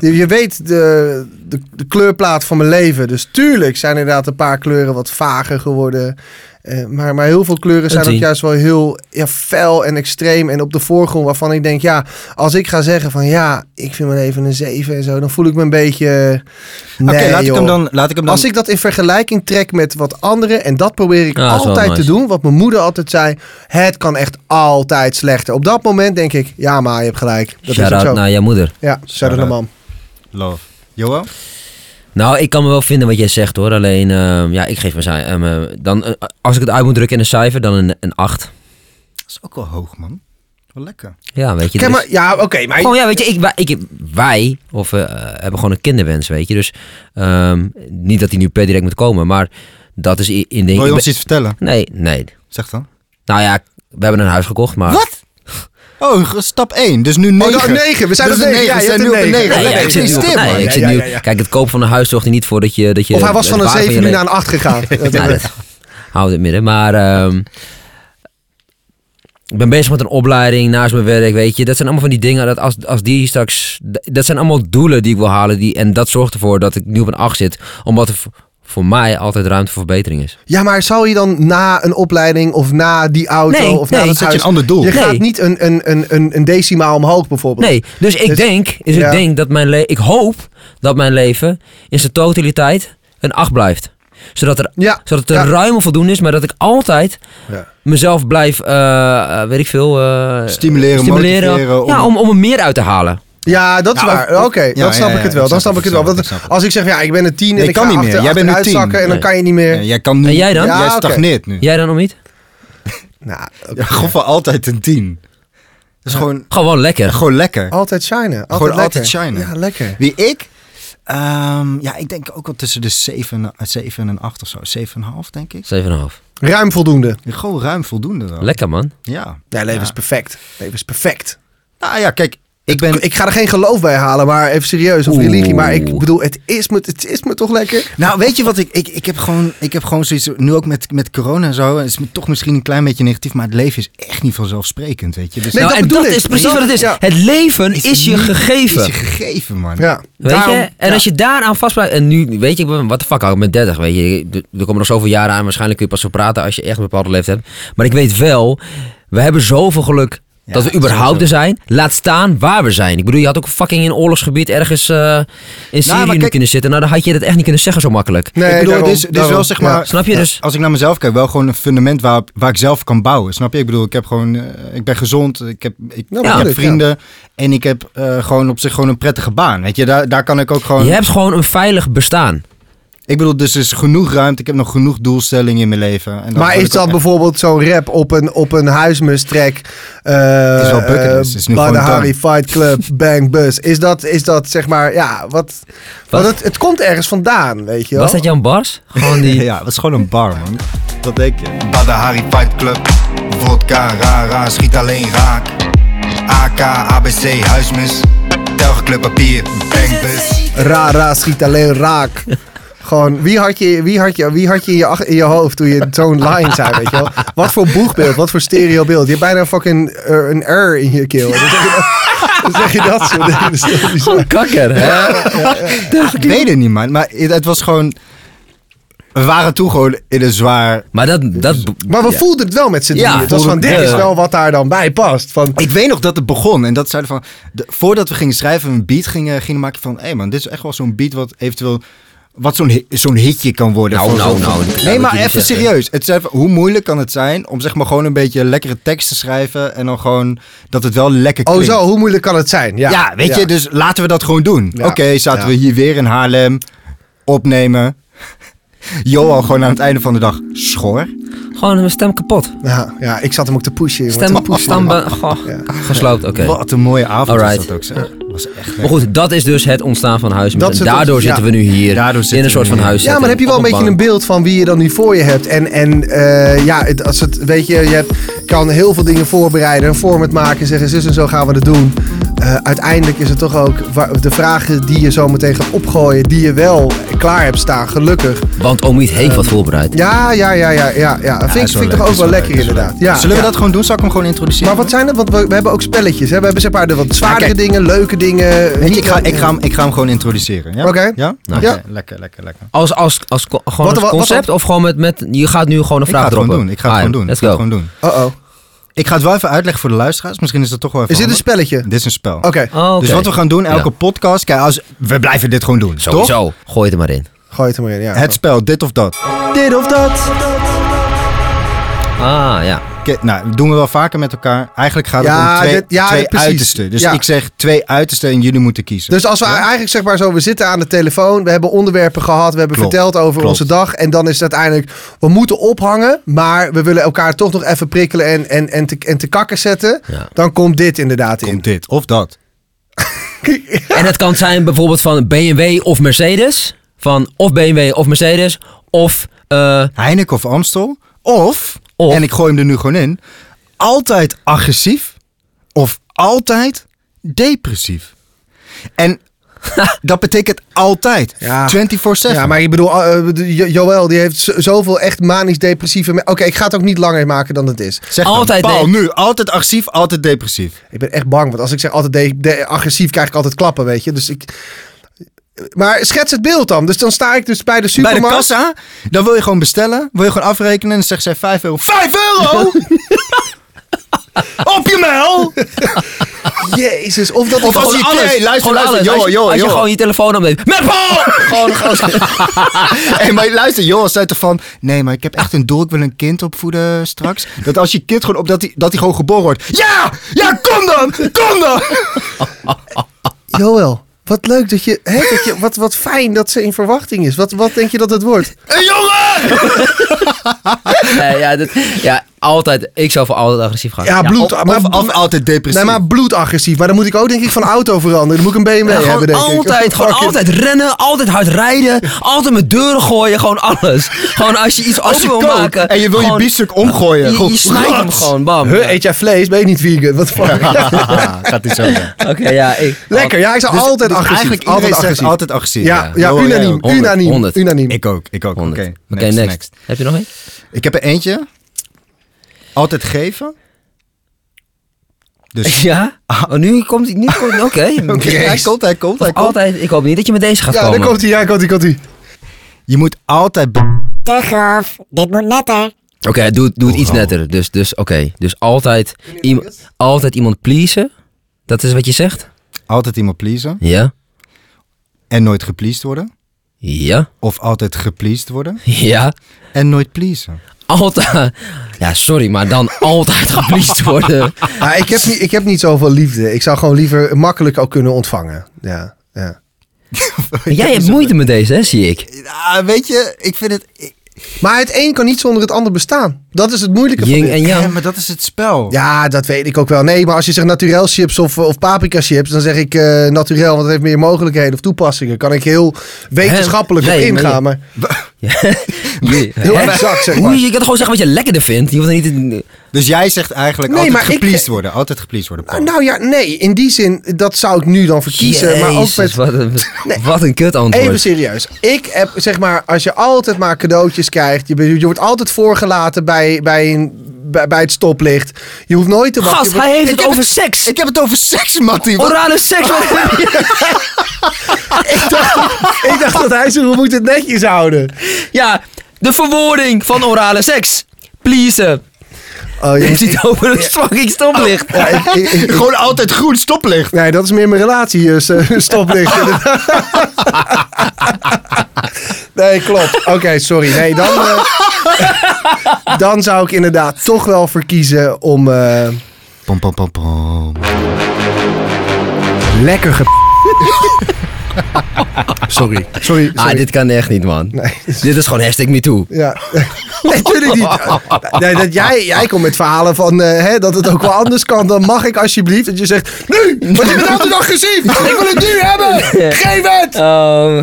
S3: Je, je weet de, de, de kleurplaat van mijn leven. Dus tuurlijk zijn inderdaad een paar kleuren wat vager geworden. Eh, maar, maar heel veel kleuren zijn ook
S2: tien.
S3: juist wel heel ja, fel en extreem. En op de voorgrond waarvan ik denk, ja, als ik ga zeggen van ja, ik vind mijn leven een 7 en zo, dan voel ik me een beetje. eh,
S1: Oké,
S3: nee,
S1: laat ik
S3: joh.
S1: hem dan. Laat ik hem dan
S3: Als ik dat in vergelijking trek met wat anderen, en dat probeer ik
S2: Ja, dat is wel
S3: altijd te
S2: nice.
S3: doen, wat mijn moeder altijd zei, het kan echt altijd slechter. Op dat moment denk ik, ja, maar je hebt gelijk. Dat is ook
S2: Shout-out
S3: zo.
S2: naar jouw moeder.
S3: Ja, shout
S1: Shout-out.
S3: out mam.
S1: Love. Johan?
S2: Nou, ik kan me wel vinden wat jij zegt hoor. Alleen, ehm, ja, ik geef mijn cijfer. dan, eh, als ik het uit moet drukken in een cijfer, dan een, een 8.
S1: Dat is ook wel hoog, man. Wel lekker.
S2: Ja, weet je.
S3: Kijk
S2: dus-
S3: maar, ja, oké, maar
S2: Gewoon, ja, weet je, ik, wij, ik, wij of, eh, hebben gewoon een kinderwens, weet je. Dus ehm, niet dat die nu per direct moet komen, maar dat is i- in de...
S1: Wil je ons iets vertellen?
S2: Nee, nee.
S1: Zeg dan.
S2: Nou ja, we hebben een huis gekocht, maar...
S1: Wat? Oh, ge- stap 1. Dus nu 9.
S3: Oh, nou, negen. We zijn
S1: dus
S3: op negen. Ja,
S1: We
S3: je
S1: zijn nu
S3: hebt
S1: op
S3: een
S1: een
S3: negen.
S1: 9.
S2: Nee, ja,
S3: nee,
S2: ik zit nu...
S3: nee,
S2: op-
S3: stil, man.
S2: Nee, ik
S3: Ja,
S2: zit
S3: ja,
S2: nu...
S3: ja, ja.
S2: Kijk, het kopen van een huis zorgt er niet voor dat je... Dat je
S3: Of hij was
S2: het
S3: van een
S2: waar
S3: 7
S2: je
S3: nu
S2: le-
S3: naar een 8
S2: (laughs)
S3: gegaan. Dat-
S2: Nou, dat houdt in het midden. Maar ehm, ik ben bezig met een opleiding naast mijn werk, weet je. Dat zijn allemaal van die dingen, dat als, als die straks... Dat zijn allemaal doelen die ik wil halen. Die, en dat zorgt ervoor dat ik nu op een 8 zit. Omdat er v- voor mij altijd ruimte voor verbetering is.
S3: Ja, maar zou je dan na een opleiding of na die auto
S2: Nee,
S3: of
S2: nee.
S3: na dat
S1: Zet je
S3: huis...
S1: een ander doel.
S3: Je gaat
S2: Nee.
S3: niet een, een, een, een, een decimaal omhoog bijvoorbeeld.
S2: Nee, dus ik
S3: Dus-
S2: denk... Dus
S3: ja.
S2: ik denk dat mijn le- Ik hoop dat mijn leven in zijn totaliteit een 8 blijft. Zodat er...
S3: Ja,
S2: Zodat er
S3: Ja.
S2: ruim voldoende is, maar dat ik altijd
S3: Ja.
S2: mezelf blijf, eh, eh, weet ik veel, eh,
S1: Stimuleren, motiveren om-
S2: ja, om, om er meer uit te halen.
S3: ja, dat is
S1: Ja,
S3: waar.
S1: of- Nou, of-
S3: Oké,
S1: ja,
S3: dan snap
S1: ja,
S3: ik
S1: ja,
S3: het wel.
S1: ik
S3: Dan
S1: snap
S3: snap ik het
S1: het,
S3: wel.
S1: ik snap
S3: Want
S1: het, ik snap
S3: als ik zeg, ja, ik ben een 10
S1: Nee,
S3: en ik
S1: kan
S3: ga
S1: niet meer.
S3: achter,
S1: Jij bent een
S3: achteruit
S1: 10.
S3: zakken en dan
S2: Nee.
S3: kan je niet meer.
S1: Ja, jij kan nu...
S2: En jij dan?
S1: Jij
S3: Ja, oké.
S1: stagneert nu.
S2: Jij dan om niet?
S3: Nou, oké.
S1: Ja, gewoon voor altijd een 10. Dat is gewoon,
S2: Gewoon lekker.
S1: gewoon lekker.
S3: altijd shinen. Altijd
S1: Gewoon altijd
S3: lekker.
S1: shinen.
S3: Ja, lekker.
S1: Wie ik? Ehm, ja, ik denk ook wel tussen de 7, en- 7 en 8 of zo. 7,5 denk ik.
S2: 7,5.
S3: Ruim voldoende.
S1: Gewoon ruim voldoende dan.
S2: Lekker man.
S1: Ja.
S3: Ja, leven
S1: Ja.
S3: is perfect. Leven is perfect.
S1: Nou ja, kijk. Ik ben...
S3: Ik ga er geen geloof bij halen, maar even serieus. Of
S2: Oeh.
S3: religie. Maar ik bedoel, het is me, het is me toch lekker?
S1: Nou, weet je wat? Ik, ik, ik, heb, gewoon, ik heb gewoon zoiets... Nu ook met, met corona en zo. Het is toch misschien een klein beetje negatief. Maar het leven is echt niet vanzelfsprekend, weet je. Dus
S3: Nee,
S1: dat
S2: nou,
S3: dat
S2: en
S3: bedoel
S2: dat
S3: ik.
S2: is precies
S3: Dat-
S2: wat het is.
S3: ja.
S2: Het leven is, je
S1: niet-
S2: gegeven.
S1: is je gegeven, man.
S3: Ja.
S2: Weet
S3: Daarom-
S2: je? En
S3: ja.
S2: als je daaraan vastblijft. En nu, weet je, wat de fuck hou ik met 30, weet je. Er- Er komen nog zoveel jaren aan. Waarschijnlijk kun je pas zo praten als je echt een bepaalde leeftijd hebt. Maar ik weet wel, we hebben zoveel geluk
S1: Ja,
S2: dat we überhaupt er zijn. Laat staan waar we zijn. Ik bedoel, je had ook fucking in oorlogsgebied ergens eh, in Syrië
S1: maar
S2: nu
S1: kijk-
S2: kunnen zitten. Nou, dan had je dat echt niet kunnen zeggen zo makkelijk.
S3: Nee,
S1: ik bedoel,
S3: daarom,
S1: dit is, dit is wel
S3: daarom.
S1: zeg
S3: Ja.
S1: maar...
S2: Snap je? Dus
S1: Als ik naar mezelf kijk, wel gewoon een fundament waar, waar ik zelf kan bouwen. Snap je? Ik bedoel, ik heb gewoon, eh, ik ben gezond, ik heb, ik, ik
S3: natuurlijk, ja.
S1: heb vrienden en ik heb eh, gewoon op zich gewoon een prettige baan. Weet je, daar, daar kan ik ook gewoon.
S2: je hebt gewoon een veilig bestaan.
S1: Ik bedoel, dus er is genoeg ruimte. Ik heb nog genoeg doelstellingen in mijn leven. En
S3: Maar
S1: wil ik
S3: is
S1: ook-
S3: dat bijvoorbeeld zo'n rap op een, op een huismustrek? eh,
S1: Het is wel bucketlist, het is nu gewoon done.
S3: Harry Fight Club, Bang Bus. Is dat, is dat zeg maar, ja, wat... Want het, het komt ergens vandaan, weet je wel?
S2: Was dat Jan Bars? Gewoon die...
S1: Ja, dat is gewoon een bar, man. Dat denk je.
S4: Badahari Fight Club Vodka, rara, schiet alleen raak AK, ABC, huismus Telgekleurd papier, bangbus
S3: Ra, ra, schiet alleen raak. Gewoon, wie had je, wie had je, wie had je in, je ach- in je hoofd toen je zo'n line zei, weet je wel? Wat voor boegbeeld, wat voor stereobeeld. Je hebt bijna een fucking eh, een R in je keel. Dan zeg je dat, dan zeg je dat soort dingen. Dat is heel (laughs) bizar.
S2: Gewoon kakker, hè?
S1: Ik weet het niet, man. Maar het, het was gewoon. We waren toen gewoon in een zwaar.
S2: Maar dat... dat
S3: Maar we
S2: ja.
S3: voelden het wel met z'n
S2: Ja,
S3: drieën. Het was van,
S2: voelden-
S3: dit is
S2: ja.
S3: wel wat daar dan bij past. Van,
S1: Ik weet nog dat het begon. En dat zeiden van. de- voordat we gingen schrijven, een beat gingen, gingen maken van. Hé hey man, dit is echt wel zo'n beat wat eventueel. Wat zo'n, hi- zo'n hitje kan worden.
S2: Nou,
S1: van
S2: nou,
S1: zo'n-
S2: nou,
S1: van-
S2: nou, dat
S1: Nee,
S2: moet
S1: maar
S2: je niet
S1: even
S2: zeggen.
S1: serieus. Het zei van, hoe moeilijk kan het zijn om zeg maar gewoon een beetje lekkere tekst te schrijven. En dan gewoon dat het wel lekker
S3: oh
S1: klinkt.
S3: zo, hoe moeilijk kan het zijn? Ja,
S1: Ja, weet je, dus laten we dat gewoon doen.
S3: Ja.
S1: Oké, zaten
S3: Ja.
S1: we hier weer in Haarlem, opnemen. Johan gewoon aan het einde van de dag schor.
S2: Gewoon mijn stem kapot.
S3: Ja, ja, ik zat hem ook te pushen. jongen.
S2: Stem,
S3: (laughs) Te pushen.
S2: stembe... Goh, gesloopt, oké.
S1: Wat een mooie avond was
S2: Alright.
S1: dat ook, zeg. Was echt
S2: Maar goed, dat is dus het ontstaan van huismus.
S3: Dat
S2: En
S3: zit ons-
S2: daardoor
S3: ja.
S2: zitten we nu hier
S1: Daardoor
S2: in
S1: zitten
S2: een soort
S1: we
S2: van
S1: nu.
S2: huis.
S3: Ja, maar heb je wel een beetje een beeld van wie je dan nu voor je hebt. En, en eh, ja, het, als het, weet je, je hebt, kan heel veel dingen voorbereiden, een format maken, zeggen zus en zo gaan we het doen. Eh, uiteindelijk is het toch ook wa- de vragen die je zo meteen gaat opgooien, die je wel klaar hebt staan, gelukkig.
S2: Want Omiet
S1: Eh,
S2: heeft wat voorbereid.
S3: Ja, ja, ja, ja, ja. ja. vind ik,
S1: is wel
S3: vind ik
S1: leuk,
S3: toch ook
S1: is
S3: wel
S1: wel
S3: lekker
S1: leuk, is wel
S3: inderdaad. Ja,
S1: Zullen we
S3: ja.
S1: dat gewoon doen? Zal ik hem gewoon introduceren?
S3: Maar wat zijn dat? Want we, we hebben ook spelletjes. Hè? We hebben zeg maar de wat zwaardere
S1: kijk.
S3: dingen, leuke dingen.
S1: Weet
S3: niet-
S1: je, ik ga, ik, ga hem, ik ga hem gewoon introduceren. Ja?
S3: Oké.
S1: Ja?
S2: Nou,
S1: Oké,
S3: ja.
S1: Lekker, lekker, lekker.
S2: Als, als, als, co- gewoon
S3: Wat-
S2: als
S3: wat- wat-
S2: concept of gewoon met, met... Je gaat nu gewoon een
S1: Ik ga
S2: vraag
S1: het gewoon
S2: droppen.
S1: doen. Ik ga het
S2: Ah,
S1: gewoon doen.
S2: Let's
S1: ik ga
S2: go.
S1: het gewoon doen.
S3: Oh oh.
S1: Ik ga het wel even uitleggen voor de luisteraars. Misschien is dat toch wel even
S3: Is dit een
S1: handig.
S3: spelletje? Oké.
S1: Dit is een spel.
S2: Oh, oké.
S1: Dus wat we gaan doen, elke
S2: Ja.
S1: podcast... Kijk, als, we blijven dit gewoon doen, toch?
S2: Sowieso. Gooi het er maar in.
S3: Gooi het er maar in. Ja.
S1: Het spel, dit of dat.
S3: dit of dat.
S2: Ah, ja.
S1: Oké, nou, doen we wel vaker met elkaar. Eigenlijk gaat het
S3: Ja,
S1: om twee,
S3: dit- ja,
S1: twee
S3: dit precies.
S1: uitersten. Dus
S3: Ja.
S1: ik zeg twee uitersten en jullie moeten kiezen.
S3: Dus als we eigenlijk zeg maar zo, we zitten aan de telefoon, we hebben onderwerpen gehad, we hebben
S1: Klopt,
S3: verteld over
S1: klopt.
S3: onze dag. En dan is het uiteindelijk, we moeten ophangen, maar we willen elkaar toch nog even prikkelen en, en, en, te, en te kakken zetten.
S2: Ja.
S3: Dan komt dit inderdaad
S1: Komt
S3: in.
S1: dit of dat.
S2: En het kan zijn bijvoorbeeld van BMW of Mercedes. Van of BMW of Mercedes. Of eh,
S1: Heineken of Amstel. Of,
S2: Of-
S1: en ik gooi hem er nu gewoon in, altijd agressief of altijd depressief. En dat betekent altijd.
S3: Ja.
S1: 24-7.
S3: Ja, maar ik bedoel, eh, eh, Jo- Joël die heeft z- zoveel echt manisch-depressieve... me- Oké, ik ga het ook niet langer maken dan het is.
S1: Zeg
S2: Altijd
S1: altijd Paul,
S2: de-
S1: nu. Altijd agressief, altijd depressief.
S3: Ik ben echt bang, want als ik zeg altijd de, de- agressief, krijg ik altijd klappen, weet je. Dus ik... Maar schets het beeld dan. Dus dan sta ik dus
S1: Bij
S3: bij de
S1: de
S3: supermarkt.
S1: kassa, dan wil je gewoon bestellen. Wil je gewoon afrekenen en dan zegt zij 5 euro. 5 euro! (laughs) Op je
S3: (laughs)
S1: mel!
S3: Jezus, of dat
S1: Of
S3: ik
S1: als
S3: gewoon-
S1: je- hey, luister,
S2: gewoon
S1: luister, joh,
S2: Als je-
S1: joh,
S2: als je
S1: joh.
S2: gewoon je telefoon opneemt. Met
S1: (laughs)
S2: Paul! gewoon, (laughs) gewoon-
S1: Hey, maar luister, Johan zei toch van... Nee, maar ik heb echt een doel. Ik wil een kind opvoeden straks. Dat als je kind gewoon op... Dat hij dat die gewoon geboren wordt. Ja! Ja, kom dan! Kom dan!
S3: Joël, wat leuk dat je, hè, dat je wat, wat fijn dat ze in verwachting is. Wat, wat denk je dat het wordt?
S1: Hey, jongen!
S2: Nee, (laughs) ja, dat- ja, altijd. Ik zou voor altijd agressief gaan.
S3: Ja, bloed.
S1: Of,
S3: maar,
S1: of, of altijd depressief.
S3: nee, maar bloedagressief. Maar dan moet ik ook denk ik van auto veranderen. Dan moet ik een BMW
S2: Gewoon
S3: hebben denk ik.
S2: altijd, gewoon
S3: Fucking-
S2: altijd rennen, altijd hard rijden, altijd met deuren gooien, gewoon alles. Gewoon als je iets
S1: Als
S2: open
S1: je
S2: wil
S1: kookt
S2: maken.
S1: en je wil
S2: gewoon-
S1: je biefstuk omgooien.
S2: Je,
S1: gewoon-
S2: je snijdt hem
S1: (laughs)
S2: gewoon, bam.
S3: Huh, eet jij vlees? Ben je niet vegan? Wat voor-
S1: Haha, (laughs) Gaat hij zo doen.
S2: Oké, ja, ik.
S3: Lekker, ja, ik zou
S1: Dus-
S3: altijd
S1: dus
S3: agressief.
S1: Eigenlijk
S3: altijd
S1: altijd
S3: agressief.
S1: altijd agressief.
S3: ja, ja,
S1: Johan, jij
S3: unaniem,
S1: ook.
S2: honderd,
S3: unaniem,
S2: honderd.
S3: uniem.
S1: Ik ook, ik ook. Oké,
S2: 100. Oké,
S1: next,
S2: next.
S1: next.
S2: Heb je nog een?
S1: Ik heb er eentje. Altijd geven. Dus...
S2: Ja? Oh, nu komt hij. nu
S1: (laughs)
S2: komt- Oké.
S1: Oké, hij komt, hij komt, hij
S2: Of
S1: komt.
S2: Altijd, ik hoop niet dat je met deze gaat
S3: Ja,
S2: komen.
S3: daar komt hij, ja, komt hij, komt hij.
S1: Je moet altijd... be-
S5: Teghoff, dit moet netter.
S2: Oké, doe, doe het iets
S4: Oh, oh.
S2: netter. Dus, dus oké. Dus altijd, iem- altijd iemand pleasen. Dat is wat je zegt?
S1: Altijd iemand pleasen
S2: Ja.
S1: en nooit gepleased worden.
S2: Ja.
S1: Of altijd gepleased worden
S2: Ja.
S1: en nooit pleasen.
S2: Altijd. Ja, sorry, maar
S3: (laughs)
S2: dan altijd gepleased worden.
S3: Ah, ik, (laughs) heb niet, ik heb niet zoveel liefde. Ik zou gewoon liever makkelijk ook kunnen ontvangen. Ja, ja.
S2: Jij hebt moeite met deze, hè, zie ik.
S1: Ja, weet je, ik vind het... ik-
S3: Maar het een kan niet zonder het ander bestaan. Dat is het moeilijke van
S2: Ying
S3: dit.
S2: en
S1: Ja,
S2: Yang.
S1: maar dat is het spel.
S3: Ja, dat weet ik ook wel. Nee, maar als je zegt naturel chips of, of paprika chips, dan zeg ik eh naturel, want het heeft meer mogelijkheden of toepassingen. Kan ik heel wetenschappelijk op
S2: Nee,
S3: ingaan, maar
S2: Je-
S3: heel
S2: hè?
S3: exact zeg
S2: Hoe-
S3: maar.
S2: Je kan toch gewoon zeggen wat je lekkerder vindt. Je hoeft er niet in-
S1: Dus jij zegt eigenlijk
S3: Nee,
S1: altijd
S3: maar ik-
S1: gepleased worden. Altijd gepleased worden. Paul.
S3: Nou ja, nee, in die zin, dat zou ik nu dan verkiezen. maar ook
S2: Jezus,
S3: met,
S2: wat een, wat een kut antwoord.
S3: Even serieus. Ik heb, zeg maar, als je altijd maar cadeautjes krijgt. Je, bent- je wordt altijd voorgelaten bij, bij, een, bij, bij het stoplicht. Je hoeft nooit te wachten.
S2: Gast,
S3: Je wordt-
S2: hij heeft het
S1: heb
S2: over
S1: het-
S2: seks.
S1: Ik heb het over seks, Mattie. Wat-
S3: (laughs)
S2: Orale seks.
S3: Ik dacht dat hij zo, we moeten het netjes houden.
S2: ja, de verwoording van orale seks.
S3: (laughs)
S2: Please.
S3: Oh,
S2: Je (laughs)
S3: je
S2: ziet over een fucking stoplicht.
S3: Oh,
S1: (laughs) Gewoon altijd groen stoplicht.
S3: Nee, dat is meer mijn relatie, dus, eh, (laughs) stoplicht. nee, klopt. Oké, sorry. Nee, dan, eh, dan zou ik inderdaad toch wel verkiezen om eh,
S1: Pom, pom, pom, pom.
S3: lekker ge... (laughs) sorry. Sorry.
S2: Ah,
S3: sorry.
S2: dit kan echt niet, man. Dit is gewoon hashtag me too.
S3: Ja, (laughs) natuurlijk niet. Nee, dat jij, jij komt met verhalen van eh, hè, dat het ook wel anders kan. Dan mag ik alsjeblieft dat je zegt, nu, want je nou bent altijd agressief. Ik wil het nu hebben. Geef het.
S2: Ehm,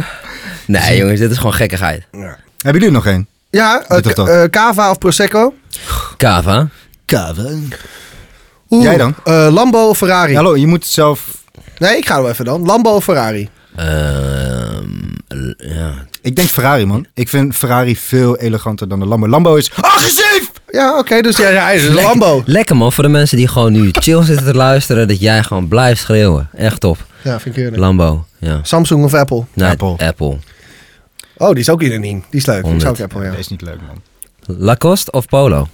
S2: nee, jongens, dit is gewoon gekkigheid.
S1: Hebben jullie nog één?
S3: Ja, eh,
S1: Doe
S3: k-
S1: dat.
S3: eh, cava of prosecco?
S2: Kava.
S1: Kava.
S3: Oeh,
S1: Jij dan?
S3: eh, Lambo of Ferrari?
S1: Hallo, je moet zelf...
S3: Nee, ik ga wel even dan. Lambo of Ferrari?
S2: Ehm, l- ja.
S1: Ik denk Ferrari, man. Ik vind Ferrari veel eleganter dan de Lambo. Lambo is Ah, agressief!
S3: Ja, oké, dus jij ja, is een Lambo.
S2: Lekker man, voor de mensen die gewoon nu chill zitten te luisteren, dat jij gewoon blijft schreeuwen. Echt top.
S3: Ja, vind ik eerlijk.
S2: Lambo, ja.
S3: Samsung of Apple?
S2: Nee,
S1: Apple.
S2: Apple.
S3: Oh, die is ook unaniem. Die is leuk. Die is ook Apple, ja.
S1: Dat is niet leuk, man.
S2: Lacoste of Polo?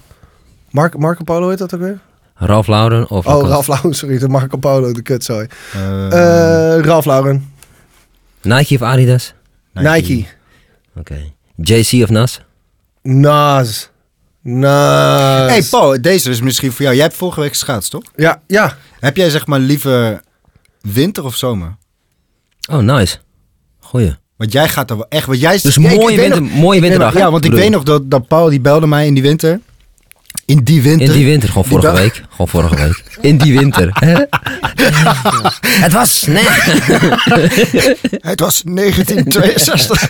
S3: Mark, Marco Polo heet dat ook weer?
S2: Ralph Lauren of
S3: Oh,
S2: Lacoste?
S3: Ralph Lauren, (laughs) sorry. De Marco Polo, de kutzooi.
S1: Eh,
S3: Eh Ralph Lauren.
S2: Nike of Adidas?
S3: Nike.
S2: Oké. JC of Nas?
S3: Nas. Nas.
S1: hey Paul, deze is misschien voor jou. Jij hebt vorige week schaats, toch?
S3: Ja, ja.
S1: Heb jij zeg maar liever winter of zomer?
S2: Oh, nice. Goeie.
S1: Want jij gaat er wel echt... Want jij,
S2: Dus
S1: Ja, ik-
S2: mooie,
S1: ik weet
S2: winter,
S1: nog-
S2: mooie winterdag.
S1: Ja, want ik weet nog dat, dat Paul die belde mij in die winter. In die winter.
S2: In die winter, gewoon
S1: Die
S2: vorige
S1: dag-
S2: week. Gewoon vorige week. In die winter.
S1: (laughs)
S2: Het was... (laughs) Nee.
S1: Het was
S2: (laughs)
S1: 1962.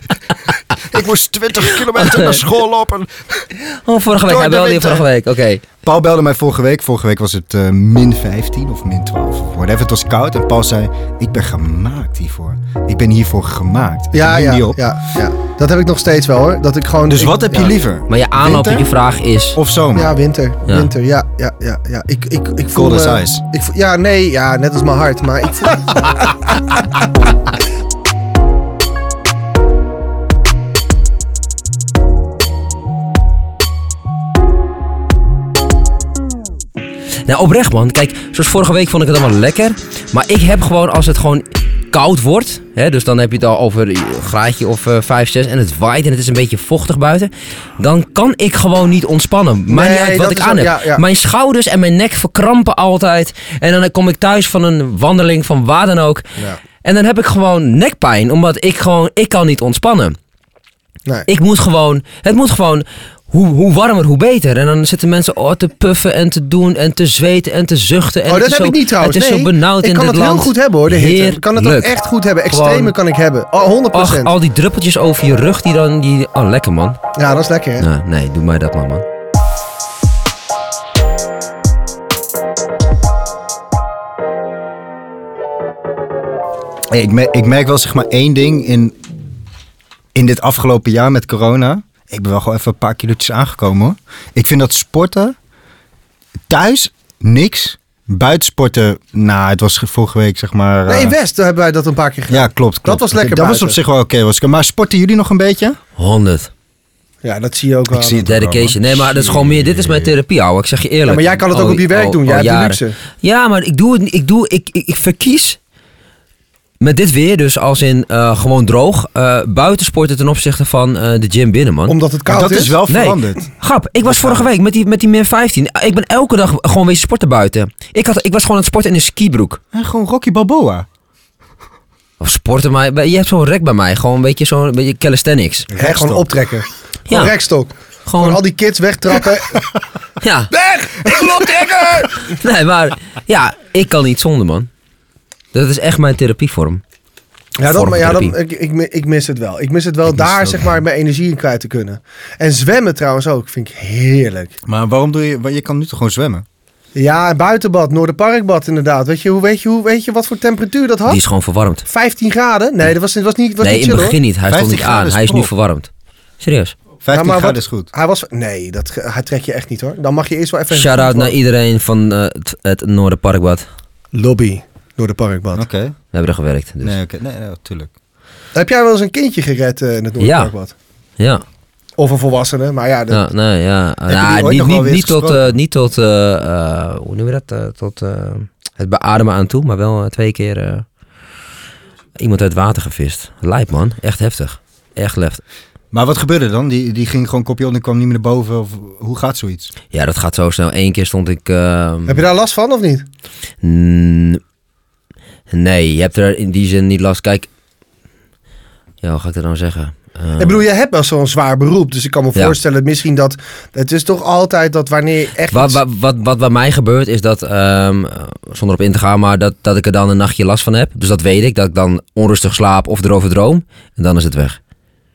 S1: ik moest 20 kilometer naar school lopen.
S2: Oh, vorige week.
S1: Door
S2: Hij
S1: de
S2: belde je
S1: winter.
S2: vorige week. Oké.
S1: Paul belde mij vorige week. Vorige week was het eh, min 15 of min 12 of whatever. Het was koud en Paul zei, ik ben gemaakt hiervoor. Ik ben hiervoor gemaakt. Ik
S3: Ja,
S1: neem
S3: ja,
S1: die
S3: ja,
S1: op.
S3: ja. Dat heb ik nog steeds wel, hoor. Dat ik gewoon...
S1: Dus
S3: ik-
S1: wat heb je
S3: ja.
S1: liever?
S2: Maar je aanloop op
S1: Winter
S2: je vraag is...
S1: Of zomer?
S3: Ja, winter.
S2: Ja.
S3: Winter, ja, ja, ja. ja. Ik, ik, ik voel,
S1: Cold as
S3: eh,
S1: ice.
S3: Ik, voel- ja, nee, ja, net als mijn hart. Maar ik (laughs) voel...
S2: Nou, oprecht man. Kijk, zoals vorige week vond ik het allemaal lekker. Maar ik heb gewoon, als het gewoon koud wordt... Hè, dus dan heb je het al over een graadje of eh, 5, 6... en het waait en het is een beetje vochtig buiten... dan kan ik gewoon niet ontspannen. Maakt
S3: Nee,
S2: niet uit wat
S3: dat
S2: ik
S3: is
S2: aan
S3: ook-
S2: heb.
S3: ja, ja.
S2: Mijn schouders en mijn nek verkrampen altijd. En dan kom ik thuis van een wandeling van waar dan ook...
S3: Ja.
S2: En dan heb ik gewoon nekpijn, omdat ik gewoon, ik kan niet ontspannen.
S3: Nee.
S2: Ik moet gewoon, het moet gewoon, hoe, hoe warmer, hoe beter. En dan zitten mensen oh, te puffen en te doen en te zweten en te zuchten. En
S3: oh,
S2: het
S3: dat
S2: is
S3: heb
S2: zo-
S3: ik niet trouwens.
S2: Het is
S3: nee.
S2: zo benauwd
S3: ik
S2: in
S3: kan
S2: dit
S3: het
S2: land.
S3: heel goed hebben hoor, de hitte. Ik kan het ook
S2: Heerlijk.
S3: echt goed hebben.
S2: Gewoon-
S3: Extreme kan ik hebben. Oh, 100%.
S2: Ach, al die druppeltjes over je rug die dan, die, oh lekker man.
S3: Ja, dat is lekker hè.
S2: Nou, nee, doe mij dat maar man.
S1: Hey, ik, mer- ik merk wel zeg maar één ding in, in dit afgelopen jaar met corona. Ik ben wel gewoon even een paar kilo's aangekomen. Hoor. Ik vind dat sporten thuis niks. Buiten sporten, nou, het was ge- vorige week zeg maar.
S3: Nee,
S1: eh,
S3: in West daar hebben wij dat een paar keer gedaan.
S1: ja, klopt, klopt.
S3: was lekker
S1: Dat was
S3: buiten.
S1: op zich wel oké. was ik- maar sporten jullie nog een beetje?
S2: 100.
S3: Ja, dat zie je ook wel.
S1: zie het
S2: Dedication. Nee, maar dat is gewoon meer. Dit is mijn therapie, ouwe. Ik zeg je eerlijk.
S3: Oh, Ja, maar jij kan het ook
S2: Al-
S3: op je werk
S2: al-
S3: doen. Jij
S2: al
S3: hebt de
S2: jaren.
S3: luxe.
S2: Ja, maar ik doe het. niet- Ik, doe, ik, ik, ik verkies met dit weer, dus als in eh, gewoon droog, eh buitensporten ten opzichte van eh, de gym binnen, man.
S3: Omdat het koud
S1: dat
S3: is.
S1: is wel
S2: Nee.
S1: veranderd.
S2: Grap, ik was vorige week met die, met die min 15. Ik ben elke dag gewoon wezen sporten buiten. Ik, had, ik was gewoon aan het sporten in een skibroek.
S1: En Eh, gewoon Rocky Balboa.
S2: Of sporten, maar je hebt zo'n rek bij mij. Gewoon een beetje zo'n een beetje calisthenics.
S3: Hè, gewoon optrekken.
S2: Ja.
S3: Gewoon rekstok. Gewoon al
S2: Gewoon,
S3: die kids
S2: (laughs)
S3: wegtrappen.
S2: ja.
S3: Weg! Ik wil optrekken!
S2: (laughs) Nee, maar ja, ik kan niet zonder, man. Dat is echt mijn therapievorm.
S3: Ja, dat,
S2: Vorm
S3: maar
S2: van
S3: ja dat, ik,
S2: therapie.
S3: ik, mi- ik mis het wel. Ik mis het wel
S1: mis
S3: daar
S1: het ook
S3: zeg maar mijn energie in kwijt te kunnen. En zwemmen trouwens ook, vind ik heerlijk.
S1: (laughs) Maar waarom doe je... Je kan nu toch gewoon zwemmen?
S3: Ja, en buitenbad, Noorderparkbad inderdaad. Weet je, hoe, weet, je, hoe, weet je wat voor temperatuur dat had?
S2: Die is gewoon verwarmd.
S3: 15 graden? Nee, dat was, was niet, was
S2: nee,
S3: niet
S2: in het
S3: chill hoor.
S2: begin niet. Hij stond
S1: 15
S2: niet aan.
S1: graden is
S2: Hij is nu
S1: prop.
S2: verwarmd. Serieus.
S1: 15
S3: Ja, Nou, maar
S1: graden
S3: wat-
S1: is goed.
S3: Hij was, nee, dat, ge- hij trek je echt niet hoor. Dan mag je eerst wel even...
S2: Shout-out naar iedereen van eh, het, het Noorderparkbad. We
S3: Lobby, Noorderparkbad.
S1: Oké.
S2: hebben er gewerkt. Dus.
S1: Nee, oké. Nee, nee, tuurlijk.
S3: Heb jij wel eens een kindje gered eh, in het Noorderparkbad?
S2: Ja.
S3: Of een volwassene, maar ja, dat-
S2: ja. Nee, ja.
S1: je
S2: Nou,
S1: die ooit
S2: niet,
S1: nog wel
S2: niet,
S1: weer
S2: niet tot,
S1: gesproken?
S2: eh, niet tot eh, eh, hoe noem je dat? Eh, tot eh, het beademen aan toe, maar wel eh, twee keer eh, iemand uit water gevist. Lijp man, echt heftig. Echt lef.
S1: Maar wat gebeurde dan? Die, die ging gewoon kopje onder en kwam niet meer naar boven? Of hoe gaat zoiets?
S2: Ja, dat gaat zo snel. Eén keer stond ik... ehm,
S3: Heb je daar last van of niet?
S2: Um. Mm, Nee, je hebt er in die zin niet last. Kijk, ja, hoe ga ik dat nou zeggen? Eh,
S3: Ik bedoel, je hebt wel zo'n zwaar beroep. Dus ik kan me
S2: Ja.
S3: voorstellen, misschien dat... Het is toch altijd dat wanneer je echt...
S2: wat,
S3: iets-
S2: wat, wat, wat bij mij gebeurt is dat, ehm, eh, zonder op in te gaan, maar dat, dat ik er dan een nachtje last van heb. Dus dat weet ik, dat ik dan onrustig slaap of erover droom. En dan is het weg.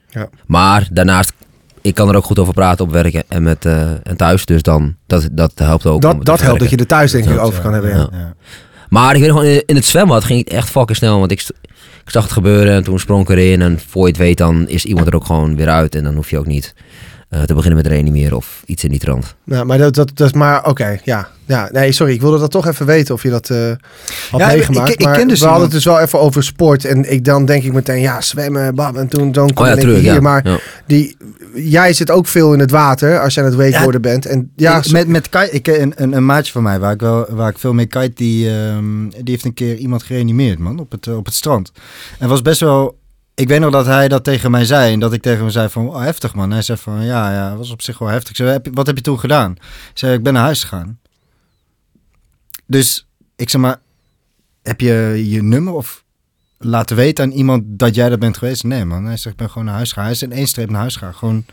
S3: Ja.
S2: Maar daarnaast, ik kan er ook goed over praten op werken en, met, eh, en thuis. Dus dan, dat, dat helpt ook. om te
S3: dat dat helpt dat
S2: verwerken.
S3: je er thuis denk ik
S1: Dat,
S3: over
S1: ja,
S3: kan hebben. Ja.
S2: ja. Maar ik weet nog, in in het zwembad ging het echt fucking snel. Want ik, st- ik zag het gebeuren en toen sprong ik erin. En voor je het weet, dan is iemand er ook gewoon weer uit. En dan hoef je ook niet eh, te beginnen met reanimeren of iets in die trant.
S3: Nou, maar dat, dat, dat is maar... Oké, ja. ja. Nee, sorry. Ik wilde dat toch even weten of je dat eh had
S1: Ja, ik-
S3: meegemaakt.
S1: ik- ik
S3: maar
S1: ken dus
S3: we hadden
S1: iemand-
S3: het dus wel even over sport. En ik, dan denk ik meteen, ja, zwemmen, bam. En toen, dan kom
S2: Oh ja,
S3: ik
S2: terug.
S3: hier.
S2: Ja.
S3: Maar
S2: Ja.
S3: die, jij zit ook veel in het water als je aan het wakeboarden bent. En ja,
S1: Ik- met, met kite, ik, ken een, een, een maatje van mij waar ik, wel, waar ik veel mee kite, die, ehm, die heeft een keer iemand gereanimeerd, man, op het, eh, op het strand. En was best wel... Ik weet nog dat hij dat tegen mij zei en dat ik tegen hem zei van, oh, heftig man. Hij zei van, ja, ja, was op zich wel heftig. Ik zei, heb, je- wat heb je toen gedaan? Hij zei, ik ben naar huis gegaan. Dus ik zeg maar, heb je je nummer of laten weten aan iemand dat jij dat bent geweest? Nee man, hij zegt, ik ben gewoon naar huis gegaan. Hij is in één streep naar huis gegaan. Gewoon een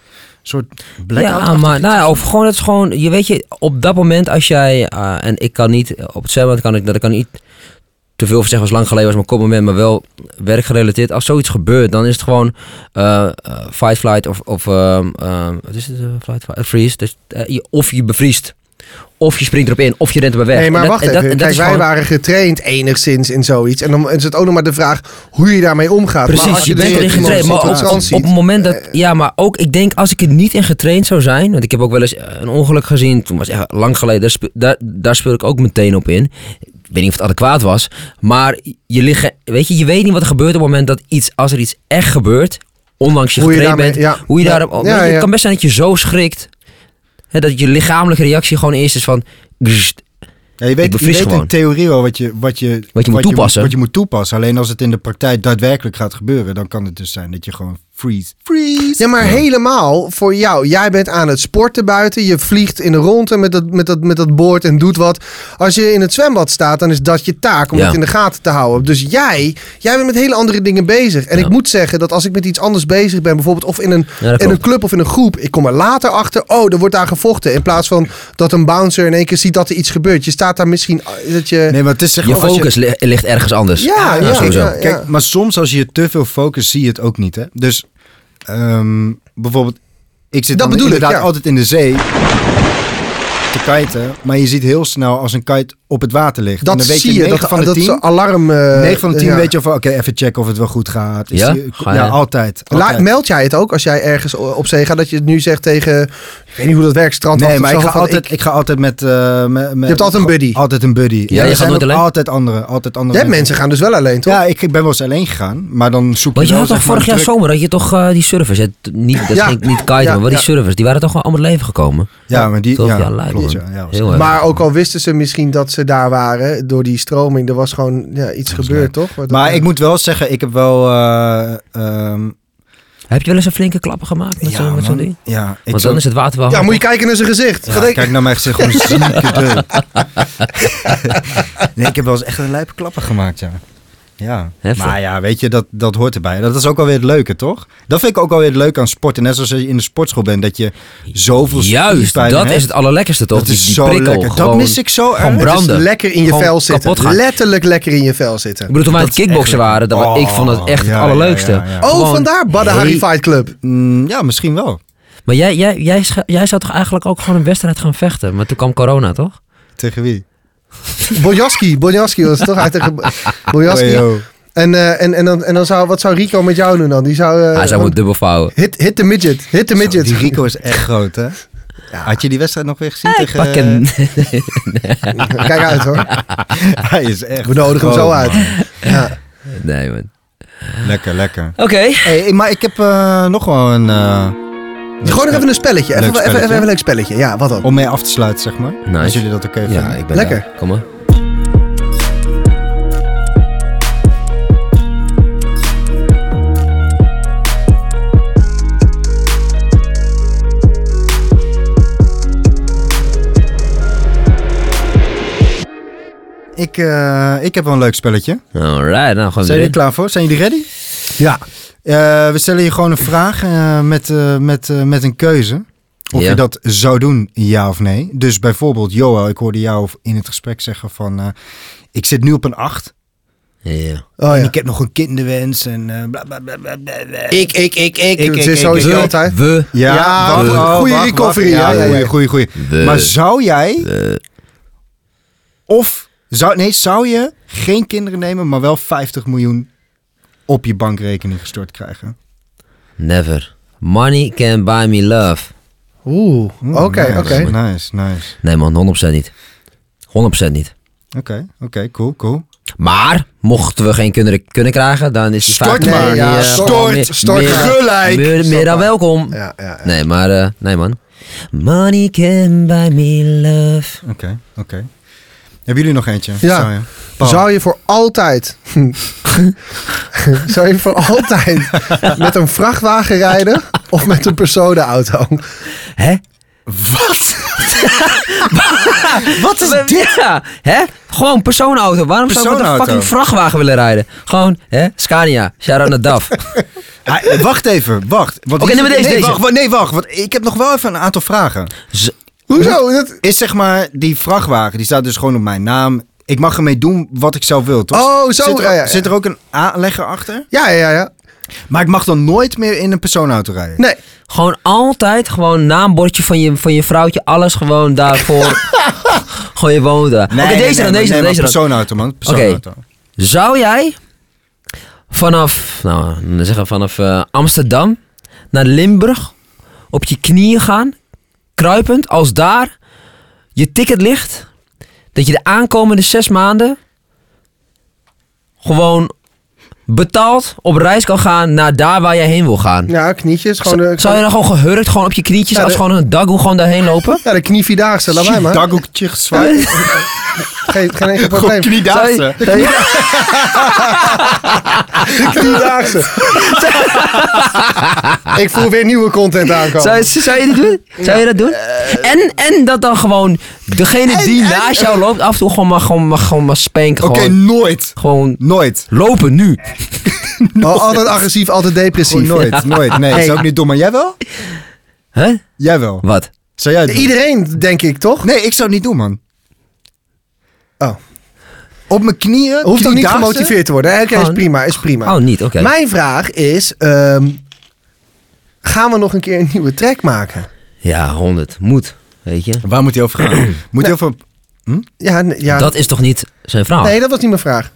S1: soort blackout.
S2: Ja, maar nou ja, of gewoon, het is gewoon, je weet je, op dat moment als jij, eh, en ik kan niet, op het zwembad kan ik, dat ik kan niet te veel over zeggen, was lang geleden was mijn kopmoment, maar wel werkgerelateerd. Als zoiets gebeurt, dan is het gewoon eh, eh, fight, flight of, of ehm, ehm, wat is het, eh, flight, flight, freeze. Dus, eh, je- of je bevriest, of je springt erop in, of je rent erbij weg.
S3: Nee, maar
S2: En dat-
S3: wacht
S2: en dat-
S3: even.
S2: en dat
S3: Kijk,
S2: is
S3: wij
S2: gewoon-
S3: waren getraind enigszins in zoiets. En dan is het ook nog maar de vraag hoe je daarmee omgaat. maar
S2: Precies,
S3: als
S2: je
S3: er
S2: bent erin
S3: iemand op
S2: getraind.
S1: in
S2: Maar
S3: het
S1: zo'n
S2: op, op,
S3: strand
S2: op
S3: ziet-
S2: het moment dat.
S3: Eh.
S2: Ja, maar ook, ik denk als ik er niet in getraind zou zijn. Want ik heb ook wel eens eh, een ongeluk gezien. Toen was echt lang geleden. Daar, spe- daar, daar speel ik ook meteen op in. Ik weet niet of het adequaat was. Maar je, liggen, weet je, je weet niet wat er gebeurt op het moment dat iets. Als er iets echt gebeurt. Ondanks je
S3: Hoe je
S2: getraind
S3: daarmee-
S2: bent.
S3: ja.
S2: Hoe je
S3: Ja.
S2: daarop.
S3: Ja,
S2: weet je,
S3: ja.
S2: Het kan best zijn dat je zo schrikt. Hè, dat je lichamelijke reactie gewoon eerst is van. grst.
S1: Ja, je weet,
S2: Ik
S1: je
S2: bevries
S1: weet in
S2: gewoon.
S1: theorie wel wat je, wat je,
S2: moet toepassen.
S1: wat je moet toepassen. Alleen als het in de praktijk daadwerkelijk gaat gebeuren, dan kan het dus zijn dat je gewoon freeze. Freeze!
S3: Ja, maar helemaal voor jou. Jij bent aan het sporten buiten. Je vliegt in de ronde met dat, met, dat, met dat boord en doet wat. Als je in het zwembad staat, dan is dat je taak om
S2: Ja.
S3: dat in de gaten te houden. Dus jij, jij bent met hele andere dingen bezig. En
S2: Ja.
S3: ik moet zeggen dat als ik met iets anders bezig ben, bijvoorbeeld of in een,
S2: Ja, dat
S3: in een
S2: klopt.
S3: club of in een groep, ik kom er later achter. Oh, er wordt daar gevochten. In plaats van dat een bouncer in één keer ziet dat er iets gebeurt. Je staat daar misschien. eh, Dat je,
S1: Nee, maar het is zeg
S2: Je
S1: maar als
S2: focus li- ligt ergens anders. Nou,
S3: Ja, ja,
S2: sowieso.
S3: ja.
S1: Kijk, maar soms als je te veel focust, zie je het ook niet. Hè? Dus ehm, bijvoorbeeld, ik zit
S3: Dat
S1: dan
S3: bedoel ik,
S1: inderdaad
S3: ja.
S1: altijd in de zee te kiten. Maar je ziet heel snel als een kite op het water ligt. en
S3: Dat
S1: dan weet
S3: zie
S1: je,
S3: je,
S1: 9
S3: dat,
S1: van de
S3: dat
S1: 10,
S3: zo'n alarm... eh,
S1: 9 van de 10
S3: ja.
S1: weet je van, oké, even checken of het wel goed gaat. Is
S2: Ja?
S1: die-
S2: Ga
S1: ja,
S2: je-
S1: altijd.
S3: La-
S1: altijd.
S3: meld jij het ook als jij ergens o- op zee gaat? Dat je het nu zegt tegen, ik weet niet hoe dat werkt, strand.
S1: Nee, maar ik ga, altijd, ik... ga altijd met, eh, met, met-
S3: hebt altijd een buddy.
S1: Altijd een buddy.
S2: je
S1: er
S2: gaat
S1: zijn
S2: nooit
S1: ook
S2: alleen?
S1: Altijd andere, altijd andere
S3: Jij mensen gaan dus wel alleen, toch?
S1: Ja, ik ben wel eens alleen gegaan, maar dan zoek
S2: Want je
S1: wel,
S2: had toch
S1: zeg maar,
S2: vorig jaar
S1: een druk-
S2: zomer, had je toch eh, die servers, hè? T- niet, dat
S3: Ja.
S2: ging niet kiten,
S3: Ja,
S2: maar wel die
S3: ja.
S2: servers, die waren toch wel allemaal het leven gekomen?
S1: Ja, maar die...
S2: Toch?
S1: Ja,
S2: Ja, lijp,
S1: klopt,
S2: man.
S1: ja, ja,
S2: Heel erg.
S3: Maar ook al wisten ze misschien dat ze daar waren, door die stroming, er was gewoon ja, iets gebeurd, toch? Wat-
S1: Maar ik moet wel zeggen, ik heb wel... eh, ehm,
S2: Heb je wel eens een flinke klap gemaakt met zo'n met zo'n
S1: man.
S2: ding?
S1: Ja, ik zou-
S2: Want dan is het water wel
S3: Ja,
S2: hard.
S3: moet je kijken naar zijn gezicht.
S1: Ja,
S3: Wat denk-
S1: kijk naar mijn gezicht,
S2: (laughs)
S1: gewoon zieke deuk. (laughs) nee, ik heb wel eens echt een lijpe klappen gemaakt, ja. Ja,
S2: Heftig.
S1: maar ja, weet je, dat, dat hoort erbij. Dat is ook alweer het leuke, toch? Dat vind ik ook alweer het leuke aan sporten. Net zoals je in de sportschool bent, dat je zoveel
S2: Juist,
S1: spierpijn
S2: dat
S1: hebt.
S2: is het allerlekkerste toch?
S1: Dat
S2: Die-
S1: is
S2: die
S1: zo
S2: prikkel,
S1: lekker. Dat
S2: gewoon-
S1: mis ik zo
S2: gewoon
S1: erg.
S2: brand- branden.
S3: Dus lekker in je
S2: Gewoon
S3: vel
S2: kapot
S3: zitten.
S2: gaan.
S3: Letterlijk lekker in je vel zitten.
S2: Ik bedoel, toen wij aan
S1: Dat
S2: het
S1: is
S2: kickboksen
S1: echt-
S2: waren, dat, was- ik vond het
S1: Oh,
S2: echt
S1: ja,
S2: het
S1: ja,
S2: allerleukste.
S1: ja, ja.
S3: Oh,
S2: Gewoon-
S3: vandaar Badahari
S2: Hey.
S3: Fight Club.
S1: Mm, ja, misschien wel.
S2: Maar jij, jij, jij, scha- jij zou toch eigenlijk ook gewoon een wedstrijd gaan vechten? Maar toen kwam corona, toch?
S1: Tegen wie?
S3: Bojaski, Bojaski was het toch uit tegen
S1: (laughs)
S3: Bojaski.
S1: Ojo.
S3: En, eh, en, en, dan, en dan zou, wat zou Rico met jou doen dan? Die zou, eh,
S2: Hij zou
S3: want-
S2: moeten dubbel vouwen.
S3: hit, hit the midget, hit the
S1: Zo,
S3: midget.
S1: Die Rico is echt groot, hè? Had je die wedstrijd nog weer gezien tegen...
S2: Pak hem.
S3: Kijk uit hoor.
S1: (laughs) Hij is echt
S3: We nodigen hem zo
S1: groot,
S3: uit.
S1: Oh, man.
S3: Ja.
S2: (laughs) Nee, man.
S1: Lekker, lekker.
S2: Oké.
S1: Hey, maar ik heb eh, nog wel een... eh,
S3: Gooi nog even een spelletje. Even,
S1: Leuk
S3: even, even,
S1: spelletje.
S3: een leuk spelletje. Ja, wat dan?
S1: om mee af te sluiten, zeg maar.
S2: Nice.
S1: Als jullie dat oké
S2: Ja,
S1: vinden.
S2: ik ben
S3: Lekker.
S2: daar. Kom maar.
S1: Ik, eh, ik heb wel een leuk spelletje.
S2: Alright, nou gaan we
S1: Zijn
S2: weer
S1: jullie
S2: in.
S1: klaar voor? Zijn jullie ready?
S3: Ja.
S1: Eh, we stellen je gewoon een vraag eh, met, eh, met, eh, met een keuze. Of
S2: Ja.
S1: je dat zou doen, ja of nee. Dus bijvoorbeeld, Joel, ik hoorde jou in het gesprek zeggen van... eh, ik zit nu op een 8
S2: Ja.
S3: Oh
S1: en
S3: ja.
S1: ik heb nog een kinderwens en eh, bla bla bla bla bla. bla.
S3: Ik, ik, ik, ik.
S1: Ik,
S3: Het
S1: ik,
S3: Oh, is sowieso
S1: ik, ik.
S3: altijd.
S2: We.
S1: Ja,
S3: Ja,
S1: wacht,
S2: goeie-
S1: oh,
S3: goeie
S1: wacht,
S3: recovery,
S1: wacht.
S3: ja, ja, ja.
S1: goeie, goeie, goeie.
S2: De-
S1: Maar zou jij...
S2: De-
S1: Of, zou, nee, zou je geen kinderen nemen, maar wel 50 miljoen op je bankrekening gestort krijgen?
S2: Never. Money can buy me love.
S3: Oeh. Oké,
S1: Mm, nice,
S3: oké.
S1: Nice, nice.
S2: Nee man, 100% niet. 100% niet.
S1: Oké, oké, cool, cool.
S2: Maar, mochten we geen kinderen kunnen krijgen, dan is die
S1: Stort
S2: vaak-
S3: maar,
S2: die,
S3: ja,
S2: eh,
S3: stort,
S2: gewoon meer-
S3: stort
S2: meer-
S3: gelijk.
S2: Meer, meer dan welkom.
S3: Ja, ja, ja.
S2: Nee, maar, eh, nee man. Money can buy me love.
S1: Oké, oké. Hebben jullie nog eentje?
S3: Ja.
S1: Zou je? Paul.
S3: Zou je voor altijd... (laughs) Zou je voor altijd met een vrachtwagen rijden of met een personenauto?
S2: Hè? (laughs)
S1: Wat is dit?
S2: Ja, hè? Gewoon personenauto. Waarom zou ik met een
S1: Personenauto.
S2: fucking vrachtwagen willen rijden? Gewoon, hè? Scania. Shout-out naar DAF.
S1: Ah, eh, wacht even, wacht. want
S2: Oké,
S1: hier-
S2: neem maar deze,
S1: nee,
S2: deze.
S1: Wacht, wa- nee, wacht, want ik heb nog wel even een aantal vragen.
S2: Z-
S3: Hoezo? Dat...
S1: Is zeg maar, die vrachtwagen, die staat dus gewoon op mijn naam. Ik mag ermee doen wat ik zelf wil, toch?
S3: Oh, zo,
S1: Zit er,
S3: ja, ja, ja.
S1: Zit er ook een aanlegger achter?
S3: Ja, ja, ja.
S1: Maar ik mag dan nooit meer in een personenauto rijden.
S3: Nee.
S2: Gewoon altijd, gewoon naambordje van je, van je vrouwtje, alles gewoon daarvoor. gewoon je woont daar. Oké, deze dan,
S1: maar-
S2: deze dan,
S1: maar
S2: deze dan.
S1: Personenauto, man. Personenauto.
S2: Zou jij vanaf, nou, dan zeggen we vanaf eh, Amsterdam naar Limburg op je knieën gaan, kruipend, als daar je ticket ligt, dat je de aankomende zes maanden gewoon betaald op reis kan gaan naar daar waar jij heen wil gaan?
S3: Ja, knietjes. Gewoon,
S2: Z-
S3: eh,
S2: Zou je dan gewoon gehurkt, gewoon op je knietjes,
S3: Ja,
S2: als
S3: de-
S2: gewoon een dagoe gewoon daarheen lopen?
S3: Ja, de knievidaagse. Laat mij maar.
S1: Daghoekje gezwaaid.
S3: Geen, geen enkel
S1: Gewoon
S3: probleem.
S1: kniedaagse.
S2: Zou je-
S1: Ah. (laughs)
S3: Vierdaagse. ik voel weer nieuwe content aankomen.
S2: (laughs) Zou, je- zou je dit doen? (laughs) Zou je dat doen?
S3: Eh,
S2: En, en dat dan gewoon degene die naast jou loopt af en toe gewoon mag, gewoon mag, gewoon mag spanken.
S1: Oké,
S2: Gewoon,
S1: nooit.
S2: gewoon
S1: Nooit.
S2: lopen nu.
S3: Oh, altijd agressief, altijd
S1: Gewoon
S3: depressief.
S1: Oh, nooit, nooit. Nee,
S3: Nee.
S1: zou ik niet doen. Maar jij wel?
S2: Hè?
S1: Jij wel.
S2: Wat?
S1: Zou jij het doen?
S3: Iedereen, denk ik, toch?
S1: Nee, ik zou het niet doen, man.
S3: Oh.
S1: Op mijn knieën.
S3: Hoeft toch niet
S1: kniedaagse?
S3: gemotiveerd te worden? hè? Oké, is
S2: Gewoon-
S3: prima, is prima.
S2: Oh, niet, oké.
S3: Mijn vraag is, ehm, gaan we nog een keer een nieuwe track maken?
S2: Ja, 100. Moet. Weet je?
S1: Waar (clears throat) moet hij over gaan? moet hij over
S3: Ja, nee, ja.
S2: Dat is toch niet zijn verhaal?
S1: oh.
S3: nee, dat was niet mijn vraag.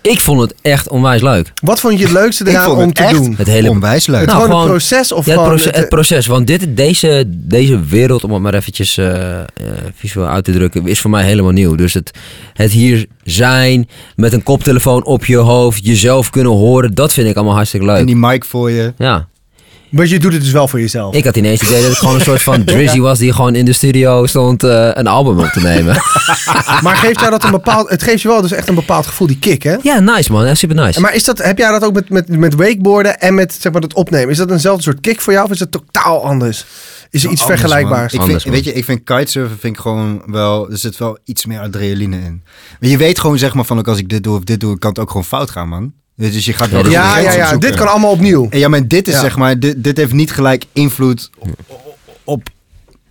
S2: Ik vond het echt onwijs leuk.
S3: Wat vond je het
S1: (laughs)
S3: leukste
S1: Ik
S3: eraan
S1: vond het
S3: om te
S1: echt
S3: doen?
S2: Het hele
S1: Onwijs leuk.
S3: Het
S2: Nou,
S3: gewoon het
S2: gewoon-
S3: proces of
S2: Ja, het,
S3: gewoon
S2: proces,
S3: het-
S2: het proces. Want dit, deze, deze wereld, om het maar eventjes eh, eh, visueel uit te drukken, is voor mij helemaal nieuw. Dus het, het hier zijn, met een koptelefoon op je hoofd, jezelf kunnen horen, dat vind ik allemaal hartstikke leuk.
S1: En die mic voor je.
S2: Ja,
S3: Maar je doet het dus wel voor jezelf.
S2: ik had ineens het idee dat het gewoon een soort
S3: (laughs)
S2: van Drizzy was die gewoon in de studio stond eh, een album op te
S3: (laughs)
S2: nemen.
S3: Maar geeft jou dat een bepaald... Het geeft je wel dus echt een bepaald gevoel, die kick, hè?
S2: ja, nice man, echt super nice.
S3: Maar is dat, heb jij dat ook met, met, met wakeboarden en met zeg maar, dat opnemen? Is dat eenzelfde soort kick voor jou of is het totaal anders? Is er iets
S1: Anders,
S3: vergelijkbaars?
S1: man. Ik
S2: Anders,
S1: vind,
S2: man.
S1: weet je, ik vind kitesurfen vind ik gewoon wel, er zit wel iets meer adrenaline in. Maar je weet gewoon zeg maar van, ook als ik dit doe of dit doe, kan het ook gewoon fout gaan, man. Dus dus je gaat wel
S2: Ja,
S1: de
S2: dat-
S3: Ja,
S1: grens
S3: ja, ja.
S1: opzoeken.
S3: Dit kan allemaal opnieuw.
S1: En ja, maar dit is
S3: Ja.
S1: zeg maar, dit, dit heeft niet gelijk invloed op, op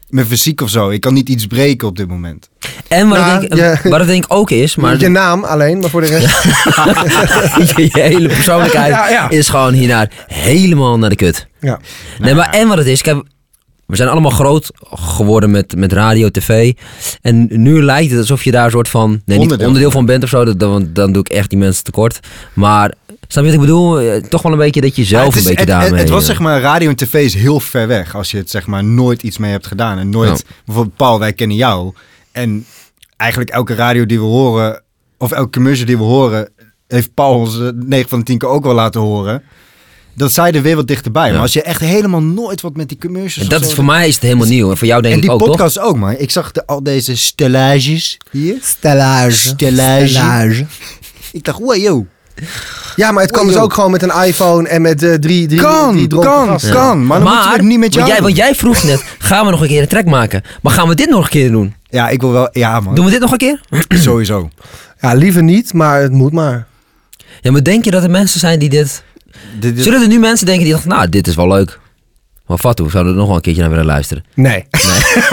S1: mijn fysiek of zo. Ik kan niet iets breken op dit moment.
S2: en wat,
S3: Nou,
S2: ik denk,
S3: ja.
S2: wat ik denk ook is,
S3: (laughs)
S2: maar
S3: Je naam alleen, maar voor de rest.
S1: (laughs)
S2: (laughs) je hele persoonlijkheid
S3: (laughs) Ja, ja.
S2: is gewoon hiernaar helemaal naar de kut.
S3: Ja.
S2: Nee,
S1: Nou
S2: maar en wat het is, kijk, we zijn allemaal groot geworden met, met radio, tv. En nu lijkt het alsof je daar een soort van. Nee, niet
S1: Onderdeel.
S2: onderdeel van bent of zo, dat, dan, want dan doe ik echt die mensen tekort. Maar snap je wat ik bedoel? Eh, Toch wel een beetje dat je zelf
S1: Ja, het
S2: een
S1: is-
S2: beetje
S1: het, het-
S2: daarmee.
S1: Het was
S2: eh,
S1: zeg maar, radio en tv is heel ver weg als je het zeg maar nooit iets mee hebt gedaan. En nooit, bijvoorbeeld Paul, wij kennen jou. En eigenlijk elke radio die we horen, of elke commercial die we horen, heeft Paul ons eh, 9 van de 10 keer ook wel laten horen. Dat zij er weer wat dichterbij.
S2: Ja.
S1: Maar als je echt helemaal nooit wat met die commercials.
S2: en
S1: of
S2: dat
S1: zo
S2: is voor mij is het helemaal nieuw. En voor jou denk
S1: en
S2: ik
S1: die
S2: ook, toch?
S1: podcast ook, maar ik zag de, al deze stellages hier.
S3: Stellage.
S1: Stellage. Ik dacht, wow, yo.
S3: Ja, maar het kan
S1: Oei,
S3: dus
S1: joh.
S3: ook gewoon met een iPhone en met eh, drie, drie, drie
S1: Kan,
S3: dronken
S1: kan,
S3: gasten.
S1: kan. Maar dan moet je het niet met
S2: want
S1: jou
S2: jij,
S1: doen.
S2: want jij vroeg net, gaan we nog een keer een track maken? Maar gaan we dit nog een keer doen?
S1: Ja, ik wil wel. Ja, man.
S2: Doen we dit nog een keer?
S1: Sowieso.
S3: Ja, liever niet, maar het moet maar.
S2: Ja, maar denk je dat er mensen zijn die dit...
S1: Dit- dit-
S2: Zullen er nu mensen denken die dachten, nou, dit is wel leuk. Maar Fatou, zouden we er nog wel een keertje naar willen luisteren?
S3: Nee. (laughs)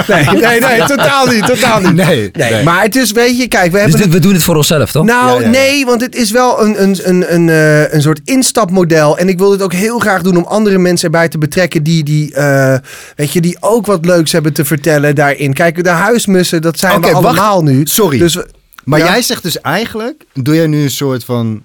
S3: Nee,
S1: (laughs)
S3: nee, nee, totaal niet, totaal niet.
S1: Nee, nee.
S3: Maar het is, weet je, kijk, we hebben...
S2: Dus dit- we doen het voor onszelf, toch?
S3: Nou,
S1: Oh. Ja, ja, ja.
S3: nee, want het is wel een, een, een, een, eh, een soort instapmodel. En ik wil dit ook heel graag doen om andere mensen erbij te betrekken. Die, die, eh, weet je, die ook wat leuks hebben te vertellen daarin. Kijk, de huismussen, dat zijn
S1: Oké,
S3: we
S1: wacht.
S3: allemaal nu.
S1: Sorry.
S3: Dus we-
S1: Maar
S3: Ja.
S1: jij zegt dus eigenlijk, doe jij nu een soort van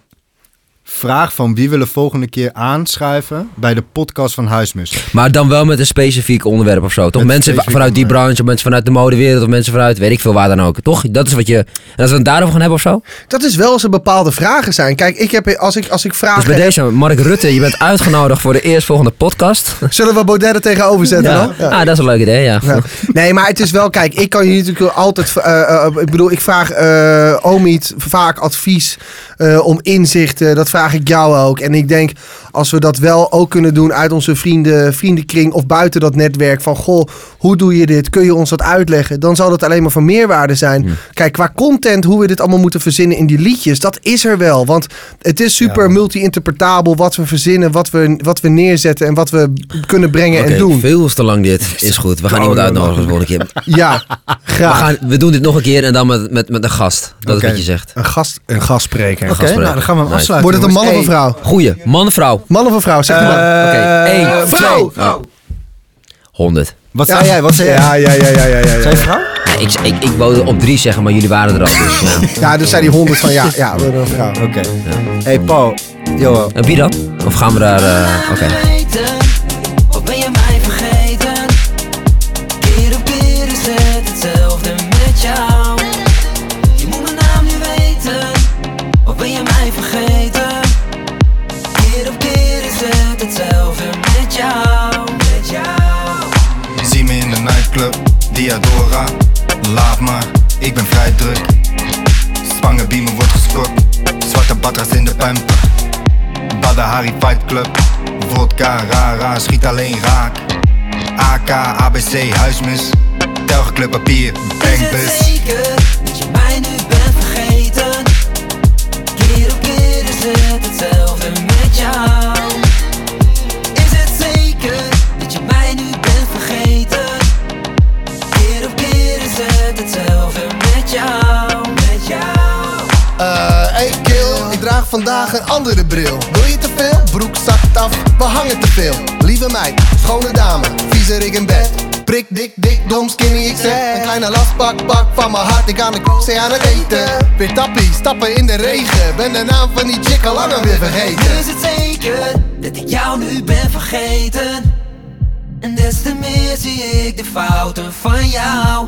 S1: vraag van wie willen volgende keer aanschuiven bij de podcast van Huismus?
S2: Maar dan wel met een specifiek onderwerp of zo. Toch
S1: Met
S2: mensen
S1: specifiek
S2: vanuit die
S1: onderwerp.
S2: branche, of mensen vanuit de modewereld, of mensen vanuit weet ik veel waar dan ook. Toch? Dat is wat je. En als we het daarover gaan hebben of zo. Dus
S3: dat is wel als er bepaalde vragen zijn. Kijk, ik heb, als ik, als ik vraag...
S2: Dus bij deze, Mark Rutte, je bent uitgenodigd voor de eerstvolgende podcast.
S3: Zullen we Baudet er tegenover zetten dan? Ja.
S2: Ah, dat is een leuk idee, ja.
S3: Ja. Nee, maar het is wel, kijk, ik kan je natuurlijk altijd. eh, eh, eh, ik bedoel, ik vraag eh Omid vaak advies eh, om inzichten. Dat vraag ik jou ook. En ik denk, als we dat wel ook kunnen doen uit onze vrienden, vriendenkring of buiten dat netwerk. Van goh, hoe doe je dit? Kun je ons dat uitleggen? Dan zal dat alleen maar van meerwaarde zijn. Kijk, qua content, hoe we dit allemaal moeten verzinnen in die liedjes, dat is er wel. Want het is super multi-interpretabel wat we verzinnen, wat we, wat we neerzetten en wat we kunnen brengen
S2: Oké,
S3: en doen.
S2: Veel te lang dit. Is goed. We gaan iemand uitnodigen voor de volgende keer.
S3: Ja,
S2: We,
S3: graag.
S2: gaan, we doen dit nog een keer en dan met, met, met een gast. Dat
S1: Oké.
S2: is wat je zegt.
S3: (laughs) Een, gast, een gastspreker.
S1: Oké, nou dan gaan we hem
S2: Nice.
S1: afsluiten.
S3: Wordt het een man of een
S1: jongens.
S3: vrouw?
S2: Goeie. Man, vrouw.
S3: Man of een vrouw, zeg
S1: Hey,
S3: maar.
S2: Oké.
S1: eh,
S2: één,
S3: vrouw!
S2: twee. Oh. 100.
S1: Wat zei jij? Wat zei jij?
S3: Ja, ja, ja, ja, ja, ja. ja.
S1: Zei je vrouw?
S2: Nee, ik, ik, ik wou op drie zeggen, maar jullie waren er al. Dus, eh.
S3: Ja, dus zijn die honderd van ja, ja, we hebben een vrouw.
S1: Oké. Hey Paul, Johan.
S2: Heb je dat? Eh, Of gaan we daar... eh, Oké.
S5: vergeten? Of ben je mij vergeten? Keer op keer is het hetzelfde met jou. Je moet mijn naam nu weten. Of ben je mij vergeten? Keer op keer is het hetzelfde met jou. Met jou.
S4: Je ziet me in de nightclub, Diadora. Laat maar, ik ben vrij druk. Spangen biemen wordt gescoord. Zwarte badras in de pamper. Badahari Fight Club. Vodka, rara, schiet alleen raak. AK, ABC, huismus. Telgeclub, papier,
S5: Is het
S4: bankbus.
S5: zeker dat je mij nu bent vergeten? Keer op keer is het hetzelfde met jou. Is het zeker dat je mij nu bent vergeten? Keer op keer is het hetzelfde met jou, met jou.
S6: Eh, hey kill, ik draag vandaag een andere bril. Wil je te veel? Broek zakt af, we hangen te veel. Lieve meid, schone dame, viezer ik in bed.
S3: Prik, dik, dik, dom, skinny, ik zeg Een kleine lastbak, bak van mijn hart Ik aan de kook, zij aan het eten Weer tappie, stappen in de regen Ben de naam van die chick al langer weer vergeten
S5: Nu is het zeker dat ik jou nu ben vergeten. En des te meer zie ik de fouten van jou.